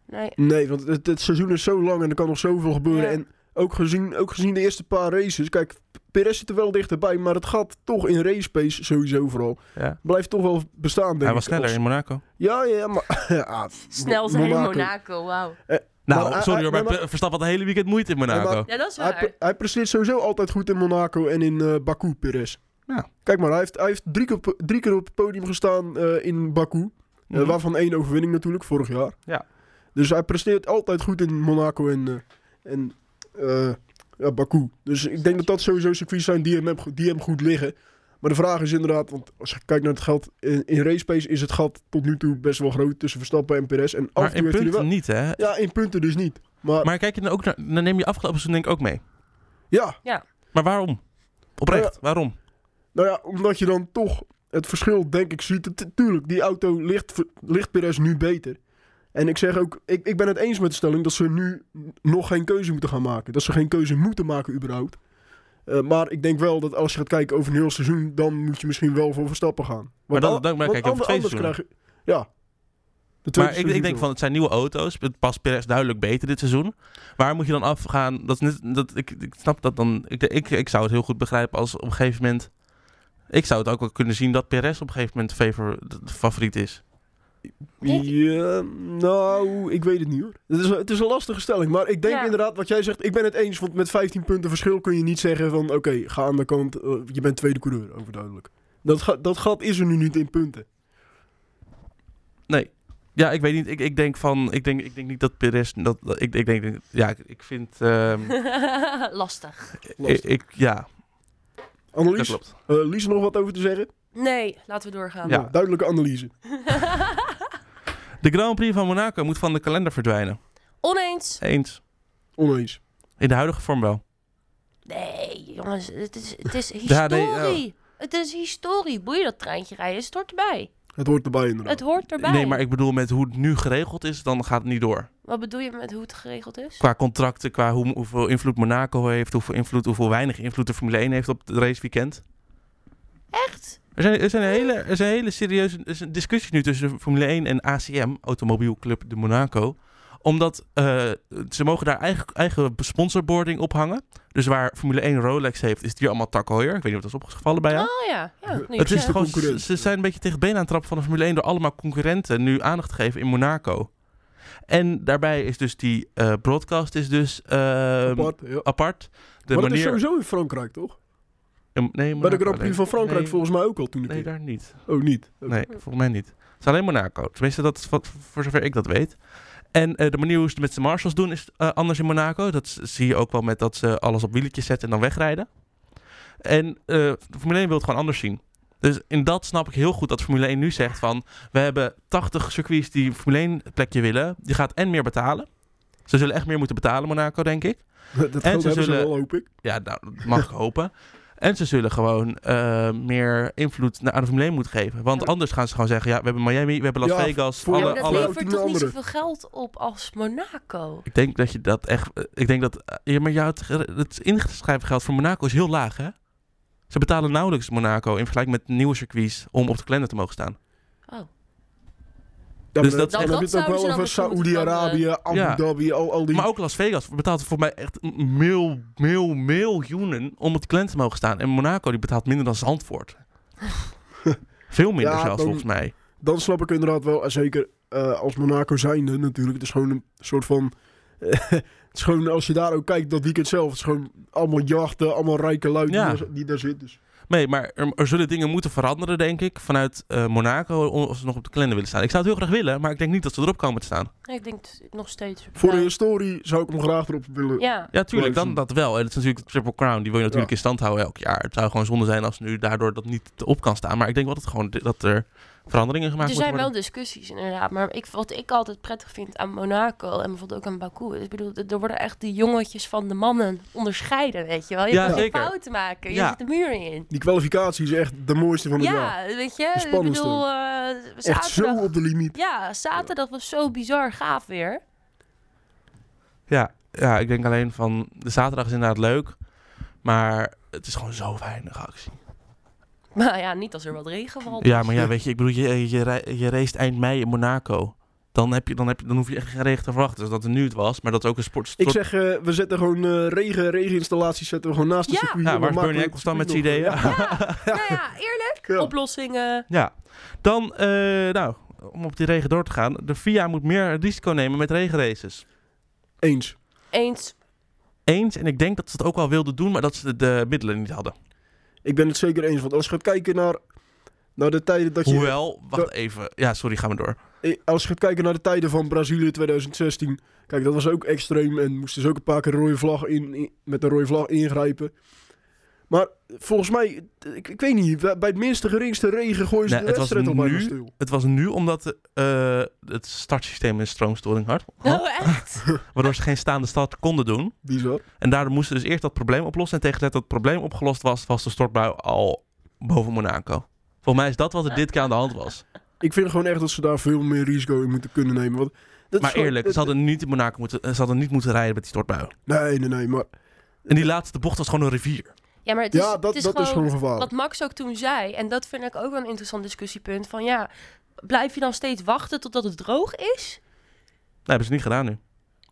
Speaker 3: Nee.
Speaker 2: Nee, want het, het seizoen is zo lang en er kan nog zoveel gebeuren.
Speaker 3: Ja.
Speaker 2: En ook gezien, ook gezien de eerste paar races... Kijk, Perez zit er wel dichterbij, maar het gaat toch in race pace sowieso vooral.
Speaker 1: Ja.
Speaker 2: Blijft toch wel bestaan, denk
Speaker 1: Hij
Speaker 2: ik.
Speaker 1: was sneller
Speaker 2: Als-
Speaker 1: in Monaco.
Speaker 2: Ja, ja, maar... ja,
Speaker 3: Snel zijn in
Speaker 2: Monaco.
Speaker 3: Monaco, wauw.
Speaker 1: Nou,
Speaker 2: Maar hij-
Speaker 1: sorry
Speaker 2: hij-
Speaker 1: hoor, maar,
Speaker 2: maar-
Speaker 1: Pe- Verstappen had het hele weekend moeite in Monaco.
Speaker 2: Ja, maar-
Speaker 3: Ja, dat is
Speaker 2: Hij,
Speaker 3: waar.
Speaker 2: pre- hij presteert sowieso altijd goed in Monaco en in eh, Baku, Perez.
Speaker 1: Ja.
Speaker 2: Kijk maar, hij heeft, hij heeft drie, keer, op- drie keer op het podium gestaan eh, in Baku. Eh,
Speaker 1: Mhm.
Speaker 2: Waarvan één overwinning natuurlijk, vorig jaar.
Speaker 1: Ja.
Speaker 2: Dus hij presteert altijd goed in Monaco en, eh, en eh, ja, Baku. Dus ik denk dat dat sowieso circuits zijn die hem, heb- die hem goed liggen. Maar de vraag is inderdaad, want als je kijkt naar het geld in, in race pace is het gat tot nu toe best wel groot tussen Verstappen en Perez. En af en
Speaker 1: maar
Speaker 2: toe
Speaker 1: in
Speaker 2: heeft hij er
Speaker 1: punten
Speaker 2: wel...
Speaker 1: niet, hè?
Speaker 2: Ja, in punten dus niet. Maar,
Speaker 1: Maar kijk je dan ook naar, dan neem je afgelopen seizoen denk ik ook mee.
Speaker 2: ja,
Speaker 1: Maar waarom? Oprecht, waarom?
Speaker 2: Nou ja, omdat je dan toch het verschil, denk ik, ziet. Tu- Tuurlijk, die auto ligt, ver- ligt Perez nu beter. En ik zeg ook, ik, ik ben het eens met de stelling dat ze nu n- nog geen keuze moeten gaan maken. Dat ze geen keuze moeten maken, überhaupt. Eh, maar ik denk wel dat als je gaat kijken over een heel seizoen, dan moet je misschien wel voor Verstappen gaan.
Speaker 1: Maar dan-
Speaker 2: al-
Speaker 1: dan kijk je
Speaker 2: want
Speaker 1: over twee
Speaker 2: ander- anders
Speaker 1: seizoenen.
Speaker 2: krijg je- Ja. De tweede
Speaker 1: Maar ik,
Speaker 2: seizoen
Speaker 1: ik denk
Speaker 2: wel.
Speaker 1: van, het zijn nieuwe auto's. Het past Perez duidelijk beter dit seizoen. Waar moet je dan afgaan? Dat is net, dat, ik, ik snap dat dan. Ik, ik, ik zou het heel goed begrijpen als op een gegeven moment... Ik zou het ook wel kunnen zien dat Perez op een gegeven moment favor, de- de favoriet is.
Speaker 3: Denk-
Speaker 2: Ja, nou, ik weet het niet hoor. Het is, het is een lastige stelling, maar ik denk
Speaker 3: Ja.
Speaker 2: inderdaad wat jij zegt. Ik ben het eens, want met 15 punten verschil kun je niet zeggen van... Oké, ga aan de kant, eh, je bent tweede coureur, overduidelijk. Dat, ga, dat gat is er nu niet in punten.
Speaker 1: Nee. Ja, ik weet niet. Ik, ik denk van... Ik denk, ik denk niet dat Perez... Dat, dat- ik, ik denk... Ja, ik, ik vind... ehm,
Speaker 3: Lastig.
Speaker 1: ik, ik- ja, dat
Speaker 2: Annelies, eh
Speaker 1: klopt.
Speaker 2: Lies nog wat over te zeggen?
Speaker 3: Nee, laten we doorgaan.
Speaker 1: Ja.
Speaker 2: Nou, duidelijke analyse.
Speaker 1: De Grand Prix van Monaco moet van de kalender verdwijnen.
Speaker 3: Oneens.
Speaker 1: Eens.
Speaker 2: Oneens.
Speaker 1: In de huidige vorm wel.
Speaker 3: Nee, jongens, het is, het is
Speaker 1: Ja, nee,
Speaker 3: historie. Het is historie. Boeien dat treintje rijden, het hoort erbij.
Speaker 2: Het hoort erbij inderdaad.
Speaker 3: Het hoort erbij.
Speaker 1: Nou, Nee, maar ik bedoel met hoe het nu geregeld is, dan gaat het niet door.
Speaker 3: Wat bedoel je met hoe het geregeld is?
Speaker 1: Qua contracten, qua hoe, hoeveel invloed Monaco heeft, hoeveel, invloed, hoeveel weinig invloed de Formule 1 heeft op het raceweekend.
Speaker 3: Echt?
Speaker 1: Er zijn, er zijn, een hele, er zijn hele serieuze er is een discussie nu tussen Formule 1 en ACM, Automobiel Club de Monaco. Omdat eh, ze mogen daar eigen, eigen sponsorboarding ophangen. Dus waar Formule 1 Rolex heeft, is het hier allemaal Tak Heuer. Ik weet niet of dat is opgevallen bij jou.
Speaker 3: Oh ja, ja. nu
Speaker 1: Het
Speaker 3: je
Speaker 1: is
Speaker 3: zegt.
Speaker 1: gewoon, ze,
Speaker 2: concurrent.
Speaker 1: ze zijn een beetje tegen het been aan het trappen van de Formule 1 door allemaal concurrenten nu aandacht te geven in Monaco. En daarbij is dus die eh, broadcast is dus eh,
Speaker 2: Apart, ja.
Speaker 1: apart. De
Speaker 2: maar het
Speaker 1: manier.
Speaker 2: is sowieso in Frankrijk, toch?
Speaker 1: in- nee,
Speaker 2: Bij de
Speaker 1: Monaco
Speaker 2: Grand Prix
Speaker 1: alleen.
Speaker 2: van Frankrijk
Speaker 1: Nee,
Speaker 2: volgens mij ook al toen ik...
Speaker 1: Nee, daar niet.
Speaker 2: Oh, niet? Oké.
Speaker 1: Nee, volgens mij niet. Het is alleen Monaco. Tenminste, dat is wat, voor zover ik dat weet. En eh, de manier hoe ze het met de marshals doen is eh, anders in Monaco. Dat s- zie je ook wel met dat ze alles op wieletjes zetten en dan wegrijden. En eh, de Formule 1 wil het gewoon anders zien. Dus in dat snap ik heel goed dat Formule 1 nu zegt van... we hebben 80 circuits die een Formule 1 plekje willen. Die gaat en meer betalen. Ze zullen echt meer moeten betalen, Monaco, denk ik.
Speaker 2: Dat geld
Speaker 1: En ze
Speaker 2: hebben ze
Speaker 1: zullen-
Speaker 2: wel, hoop ik.
Speaker 1: Ja, nou, dat mag ik hopen. En ze zullen gewoon eh, meer invloed na- aan de Formule 1 moeten geven. Want
Speaker 3: Ja.
Speaker 1: anders gaan ze gewoon zeggen, ja, we hebben Miami, we hebben Las
Speaker 2: Ja,
Speaker 1: Vegas.
Speaker 2: voor-
Speaker 3: Ja,
Speaker 1: Alle,
Speaker 3: maar dat
Speaker 1: alle...
Speaker 2: levert
Speaker 3: levert
Speaker 2: de
Speaker 3: toch niet
Speaker 2: andere.
Speaker 3: zoveel geld op als Monaco?
Speaker 1: Ik denk dat je dat echt... eh, Ik denk dat... eh, Ja, maar jou, het, het ingeschreven geld voor Monaco is heel laag, hè? Ze betalen nauwelijks Monaco in vergelijking met nieuwe circuits om op de kalender te mogen staan.
Speaker 3: Oh,
Speaker 2: Ja,
Speaker 1: Dus
Speaker 2: maar
Speaker 1: dat-
Speaker 2: dan
Speaker 1: dat
Speaker 2: heb je het ook
Speaker 3: zouden
Speaker 2: wel
Speaker 3: ze dan
Speaker 2: over
Speaker 3: misschien moeten
Speaker 2: Saoedi-Arabië, Abu
Speaker 1: Ja.
Speaker 2: Dhabi, al, al die...
Speaker 1: Maar ook Las Vegas betaalt voor mij echt mil, mil, miljoenen om op de kalender te mogen staan. En Monaco die betaalt minder dan Zandvoort. Veel minder
Speaker 2: Ja,
Speaker 1: zelfs,
Speaker 2: dan-
Speaker 1: volgens mij.
Speaker 2: Dan snap ik inderdaad wel, en zeker eh, als Monaco zijnde natuurlijk. Het is gewoon een soort van... het is gewoon, als je daar ook kijkt, dat weekend zelf. Het is gewoon allemaal jachten, allemaal rijke lui die
Speaker 1: Ja.
Speaker 2: daar- die daar zitten. Dus.
Speaker 1: Nee, maar er, er zullen dingen moeten veranderen, denk ik, vanuit eh, Monaco, om- als ze nog op de kalender willen staan. Ik zou het heel graag willen, maar ik denk niet dat ze erop komen te staan.
Speaker 3: Ik denk het nog steeds.
Speaker 2: Voor de
Speaker 3: Ja.
Speaker 2: historie zou ik hem graag erop willen.
Speaker 3: Ja. Dus
Speaker 1: Ja, tuurlijk, dan
Speaker 2: Even.
Speaker 1: dat wel. En het is natuurlijk de Triple Crown, die wil je natuurlijk
Speaker 2: Ja.
Speaker 1: in stand houden elk jaar. Het zou gewoon zonde zijn als nu daardoor dat niet op kan staan. Maar ik denk wel dat, het gewoon, dat er veranderingen gemaakt
Speaker 3: Dus er
Speaker 1: moeten
Speaker 3: zijn
Speaker 1: worden.
Speaker 3: wel discussies inderdaad, maar ik, wat ik altijd prettig vind aan Monaco en bijvoorbeeld ook aan Baku, ik bedoel, er worden echt die jongetjes van de mannen onderscheiden, weet je wel. Je
Speaker 1: Ja,
Speaker 3: kan geen
Speaker 1: zeker.
Speaker 3: fouten maken, je
Speaker 1: Ja.
Speaker 3: zit de muren in.
Speaker 2: Die kwalificatie is echt de mooiste van het jaar.
Speaker 3: Ja, weet je,
Speaker 2: De
Speaker 3: ik
Speaker 2: spannendste.
Speaker 3: bedoel, eh,
Speaker 2: Echt zo
Speaker 3: zaterdag,
Speaker 2: op de limiet.
Speaker 3: ja, zaterdag was zo bizar gaaf weer.
Speaker 1: Ja, ja, ik denk alleen van de zaterdag is inderdaad leuk, maar het is gewoon zo weinig actie.
Speaker 3: Maar ja, niet als er wat regen valt.
Speaker 1: Ja, maar ja, weet je, ik bedoel, je, je, rij- je race eind mei in Monaco. Dan, heb je, dan, heb je, dan hoef je echt geen regen te verwachten. Dus dat het nu het was, maar dat is ook een sport.
Speaker 2: Ik zeg, eh, we zetten gewoon eh, regen, regeninstallaties zetten we gewoon naast de
Speaker 3: Ja.
Speaker 2: circuit.
Speaker 1: ja,
Speaker 2: en
Speaker 1: waar is
Speaker 2: dan maken
Speaker 1: Bernie
Speaker 2: we
Speaker 1: Ecclestone met zijn
Speaker 2: het circuit
Speaker 1: ideeën?
Speaker 2: nog,
Speaker 3: Ja, nou ja, eerlijk,
Speaker 2: eh, ja.
Speaker 3: oplossingen.
Speaker 1: Ja, dan, eh, nou, om op die regen door te gaan. De FIA moet meer risico nemen met regenraces.
Speaker 2: Eens.
Speaker 3: Eens,
Speaker 1: Eens, en ik denk dat ze het ook wel wilden doen, maar dat ze de, de middelen niet hadden.
Speaker 2: Ik ben het zeker eens, want als je gaat kijken naar, naar de tijden dat je...
Speaker 1: Hoewel, wacht even. Ja, sorry, gaan we door.
Speaker 2: Eh, Als je gaat kijken naar de tijden van Brazilië 2016. Kijk, dat was ook extreem. En moesten ze ook een paar keer rode vlag in, in- met een rode vlag ingrijpen. Maar volgens mij, eh, ik, ik weet niet, bij bij het minste geringste regen gooien ze
Speaker 1: Nee,
Speaker 2: de
Speaker 1: het was
Speaker 2: wedstrijd al bijna
Speaker 1: nu.
Speaker 2: stil.
Speaker 1: Het was nu omdat eh, het startsysteem een stroomstoring had,
Speaker 3: nou echt.
Speaker 1: waardoor ze geen staande start konden doen.
Speaker 2: Bizar.
Speaker 1: En daardoor moesten ze dus eerst dat probleem oplossen. En tegen dat dat probleem opgelost was, was de stortbui al boven Monaco. Volgens mij is dat wat er dit keer aan de hand was.
Speaker 2: Ik vind gewoon echt dat ze daar veel meer risico in moeten kunnen nemen. Want dat is
Speaker 1: Maar
Speaker 2: gewoon-
Speaker 1: eerlijk,
Speaker 2: dat-
Speaker 1: ze hadden niet in Monaco moeten, ze hadden niet moeten rijden met die stortbui.
Speaker 2: Nee, nee, nee. Maar
Speaker 1: En die laatste bocht was gewoon een rivier. Nou,
Speaker 3: Ja, maar het is,
Speaker 2: ja, dat,
Speaker 3: het is
Speaker 2: dat
Speaker 3: gewoon
Speaker 2: is gewoon gevaarlijk.
Speaker 3: Wat Max ook toen zei, en dat vind ik ook wel een interessant discussiepunt. Van ja, blijf je dan steeds wachten totdat het droog is?
Speaker 1: Dat hebben ze niet gedaan nu.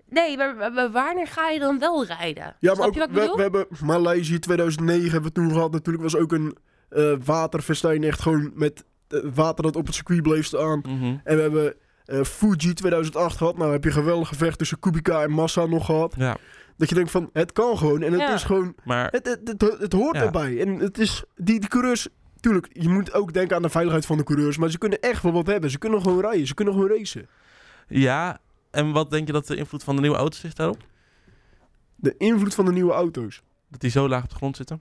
Speaker 3: Nee, maar, maar- maar wanneer ga je dan wel rijden?
Speaker 2: Ja, maar
Speaker 3: Snap
Speaker 2: ook,
Speaker 3: je wat ik
Speaker 2: we,
Speaker 3: bedoel?
Speaker 2: we hebben Maleisië 2009 hebben we toen gehad. Natuurlijk was ook een eh waterfestijn echt gewoon met eh, water dat op het circuit bleef staan. En we hebben eh, Fuji 2008 gehad. Nou heb je een geweldig gevecht tussen Kubica en Massa nog gehad.
Speaker 1: Ja,
Speaker 2: Dat je denkt van, het kan gewoon. En het
Speaker 3: Ja.
Speaker 2: is gewoon,
Speaker 1: maar
Speaker 2: het, het, het, het hoort
Speaker 1: Ja.
Speaker 2: erbij. En het is, die, die coureurs... Tuurlijk, je moet ook denken aan de veiligheid van de coureurs. Maar ze kunnen echt wel wat hebben. Ze kunnen gewoon rijden. Ze kunnen gewoon racen.
Speaker 1: ja. En wat denk je dat de invloed van de nieuwe auto's is daarop?
Speaker 2: De invloed van de nieuwe auto's.
Speaker 1: Dat die zo laag op de grond zitten?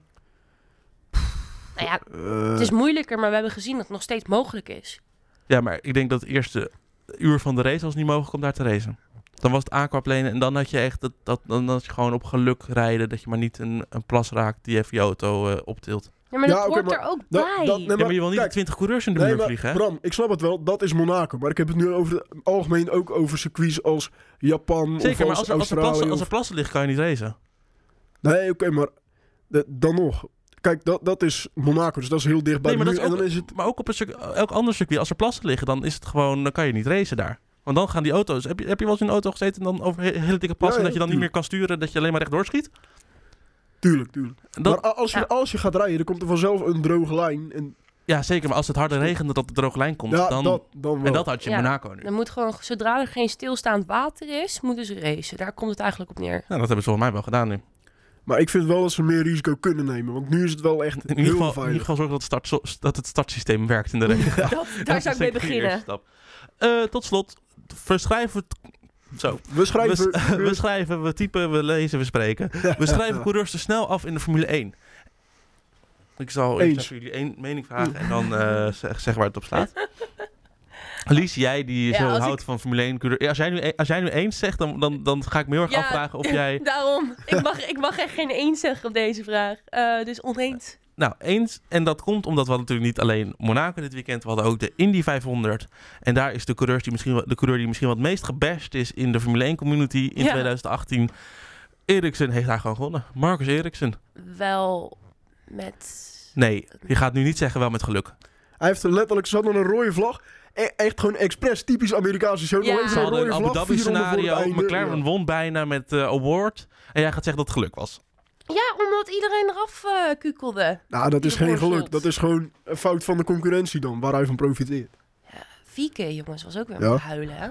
Speaker 3: Nou ja,
Speaker 2: Eh,
Speaker 3: het is moeilijker, maar we hebben gezien dat het nog steeds mogelijk is.
Speaker 1: Ja, maar ik denk dat het eerste uur van de race was niet mogelijk om daar te racen. Dan was het aquaplanen en dan had je echt dat, dat, dan had je gewoon op geluk rijden dat je maar niet een, een plas raakt die even je auto eh, optilt.
Speaker 3: Ja, maar
Speaker 2: Ja,
Speaker 3: dat
Speaker 2: oké,
Speaker 3: hoort
Speaker 2: maar
Speaker 3: er ook
Speaker 2: dat-
Speaker 3: bij.
Speaker 2: dat- nee,
Speaker 1: ja, maar je wil niet
Speaker 2: kijk,
Speaker 1: 20 coureurs in de
Speaker 2: nee,
Speaker 1: muur
Speaker 2: maar
Speaker 1: vliegen, hè?
Speaker 2: Bram, ik snap het wel. Dat is Monaco. Maar ik heb het nu over het algemeen ook over circuits als Japan
Speaker 1: Zeker,
Speaker 2: of
Speaker 1: maar
Speaker 2: als,
Speaker 1: als er, als, er
Speaker 2: Australië.
Speaker 1: plassen, als
Speaker 2: of-
Speaker 1: er plassen liggen kan je niet racen.
Speaker 2: Nee, oké, maar de- dan nog. Kijk, dat, dat is Monaco, dus dat is heel dicht bij
Speaker 1: Nee,
Speaker 2: de
Speaker 1: maar
Speaker 2: muur.
Speaker 1: dat is
Speaker 2: En dan is het...
Speaker 1: Maar ook op een circu- elk ander circuit, als er plassen liggen, dan is het gewoon, dan kan je niet racen daar. Want dan gaan die auto's. Heb je, heb je wel eens in een auto gezeten en dan over he- hele dikke plassen
Speaker 2: Ja, ja,
Speaker 1: dat je dan niet meer
Speaker 2: tuurlijk.
Speaker 1: kan sturen, dat je alleen maar rechtdoor schiet?
Speaker 2: Tuurlijk, tuurlijk.
Speaker 1: Dat,
Speaker 2: maar a- als je,
Speaker 3: ja.
Speaker 2: als je gaat rijden, dan komt er vanzelf een droge lijn. En,
Speaker 1: ja, zeker. Maar als het harder regende dat de droge lijn komt,
Speaker 2: ja,
Speaker 1: dan...
Speaker 2: dat, dan wel.
Speaker 1: en dat had je in
Speaker 3: Ja.
Speaker 1: Monaco nu.
Speaker 3: Dan moet gewoon, zodra er geen stilstaand water is, moeten ze racen. Daar komt het eigenlijk op neer.
Speaker 1: Nou, dat hebben ze volgens mij wel gedaan nu.
Speaker 2: Maar ik vind wel dat ze meer risico kunnen nemen. Want nu is het wel echt
Speaker 1: In ieder
Speaker 2: heel
Speaker 1: geval, in ieder
Speaker 2: veilig.
Speaker 1: geval zorgen dat, het start, dat het startsysteem werkt in de regen.
Speaker 3: Dat- daar zou ik mee beginnen.
Speaker 1: Eh, tot slot, verschrijven... we het- Zo.
Speaker 2: We schrijven...
Speaker 1: We, s- we schrijven, we typen, we lezen, we spreken. We schrijven coureurs te snel af in de Formule 1. Ik zal eerst
Speaker 2: Eens. Mm.
Speaker 1: even jullie één mening vragen en dan eh zeg, zeg waar het op slaat. Lies, jij die
Speaker 3: Ja,
Speaker 1: zo
Speaker 3: als ik-
Speaker 1: houdt van Formule 1 coureur. Ja, Als jij nu, e- als jij nu eens zegt, dan, dan, dan ga ik me heel erg
Speaker 3: Ja.
Speaker 1: afvragen of jij...
Speaker 3: Daarom, ik mag, ik mag echt geen eens zeggen op deze vraag. Eh, dus oneens.
Speaker 1: Nou, eens. En dat komt omdat we natuurlijk niet alleen Monaco dit weekend, we hadden ook de Indy 500. En daar is de, coureurs die misschien, wel- de coureur die misschien wat meest gebashed is in de Formule 1 community in
Speaker 3: Ja.
Speaker 1: 2018. Eriksen heeft daar gewoon gewonnen. Marcus Eriksen.
Speaker 3: Wel met
Speaker 1: Nee, je gaat nu niet zeggen wel met geluk.
Speaker 3: Ah.
Speaker 2: Hij heeft letterlijk... Ze hadden een rode vlag. E- echt gewoon expres typisch Amerikaanse show.
Speaker 3: Ja.
Speaker 2: Alleen
Speaker 1: Ze
Speaker 2: zo'n
Speaker 1: hadden
Speaker 2: rode
Speaker 1: een Abu
Speaker 2: vlag,
Speaker 1: Dhabi
Speaker 2: 400 voor het
Speaker 1: scenario.
Speaker 2: einde.
Speaker 1: McLaren
Speaker 2: Ja.
Speaker 1: won bijna met eh, award. En jij gaat zeggen dat het geluk was.
Speaker 3: Ja, omdat iedereen eraf eh, kukelde.
Speaker 2: Nou, dat is
Speaker 3: Die
Speaker 2: geen
Speaker 3: voorzot.
Speaker 2: geluk. Dat is gewoon een fout van de concurrentie dan, waar hij van profiteert.
Speaker 3: Vieke, jongens, was ook weer
Speaker 2: Ja.
Speaker 3: aan het huilen, hè?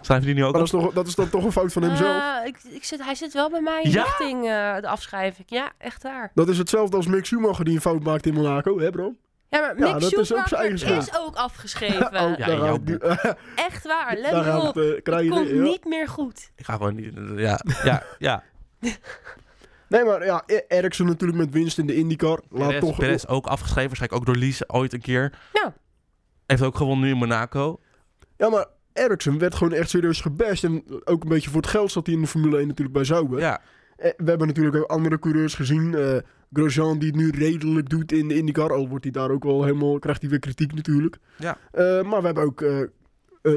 Speaker 1: Staan we die nu ook
Speaker 2: Maar
Speaker 1: op?
Speaker 2: dat is, nog, dat is dan toch een fout van hemzelf.
Speaker 3: Ah, ik, ik zit, hij zit wel bij mij in
Speaker 1: Ja?
Speaker 3: richting eh, de afschrijving. Ja, echt waar.
Speaker 2: Dat is hetzelfde als Mick Schumacher die een fout maakt in Monaco, hè bro?
Speaker 3: Ja, maar
Speaker 2: Ja,
Speaker 3: Mick
Speaker 2: dat is ook zijn
Speaker 3: Schumacher
Speaker 2: eigen
Speaker 3: is,
Speaker 2: schuld.
Speaker 3: ook afgeschreven.
Speaker 2: Oh,
Speaker 1: Ja,
Speaker 2: daar
Speaker 1: jouw
Speaker 2: gaat het, eh,
Speaker 3: Echt waar, let
Speaker 2: daar
Speaker 3: me
Speaker 2: gaat
Speaker 3: op.
Speaker 2: het, eh,
Speaker 3: Het
Speaker 2: kraaien
Speaker 3: komt
Speaker 2: in, ja.
Speaker 3: niet meer goed.
Speaker 1: Ik ga gewoon niet... Ja, ja, ja.
Speaker 2: Nee, maar ja, E- Ericsson natuurlijk met winst in de IndyCar. Laat
Speaker 1: Perez,
Speaker 2: toch...
Speaker 1: Perez ook afgeschreven, waarschijnlijk ook door Lies ooit een keer.
Speaker 3: Ja.
Speaker 1: Heeft ook gewonnen nu in Monaco.
Speaker 2: Ja, maar Ericsson werd gewoon echt serieus gebashed. En ook een beetje voor het geld zat hij in de Formule 1 natuurlijk bij Zouwen.
Speaker 1: Ja,
Speaker 2: Eh, We hebben natuurlijk ook andere coureurs gezien. eh Grosjean die het nu redelijk doet in de IndyCar. Al wordt hij daar ook wel helemaal, krijgt hij weer kritiek natuurlijk.
Speaker 1: Ja.
Speaker 2: Eh, maar we hebben ook eh, eh,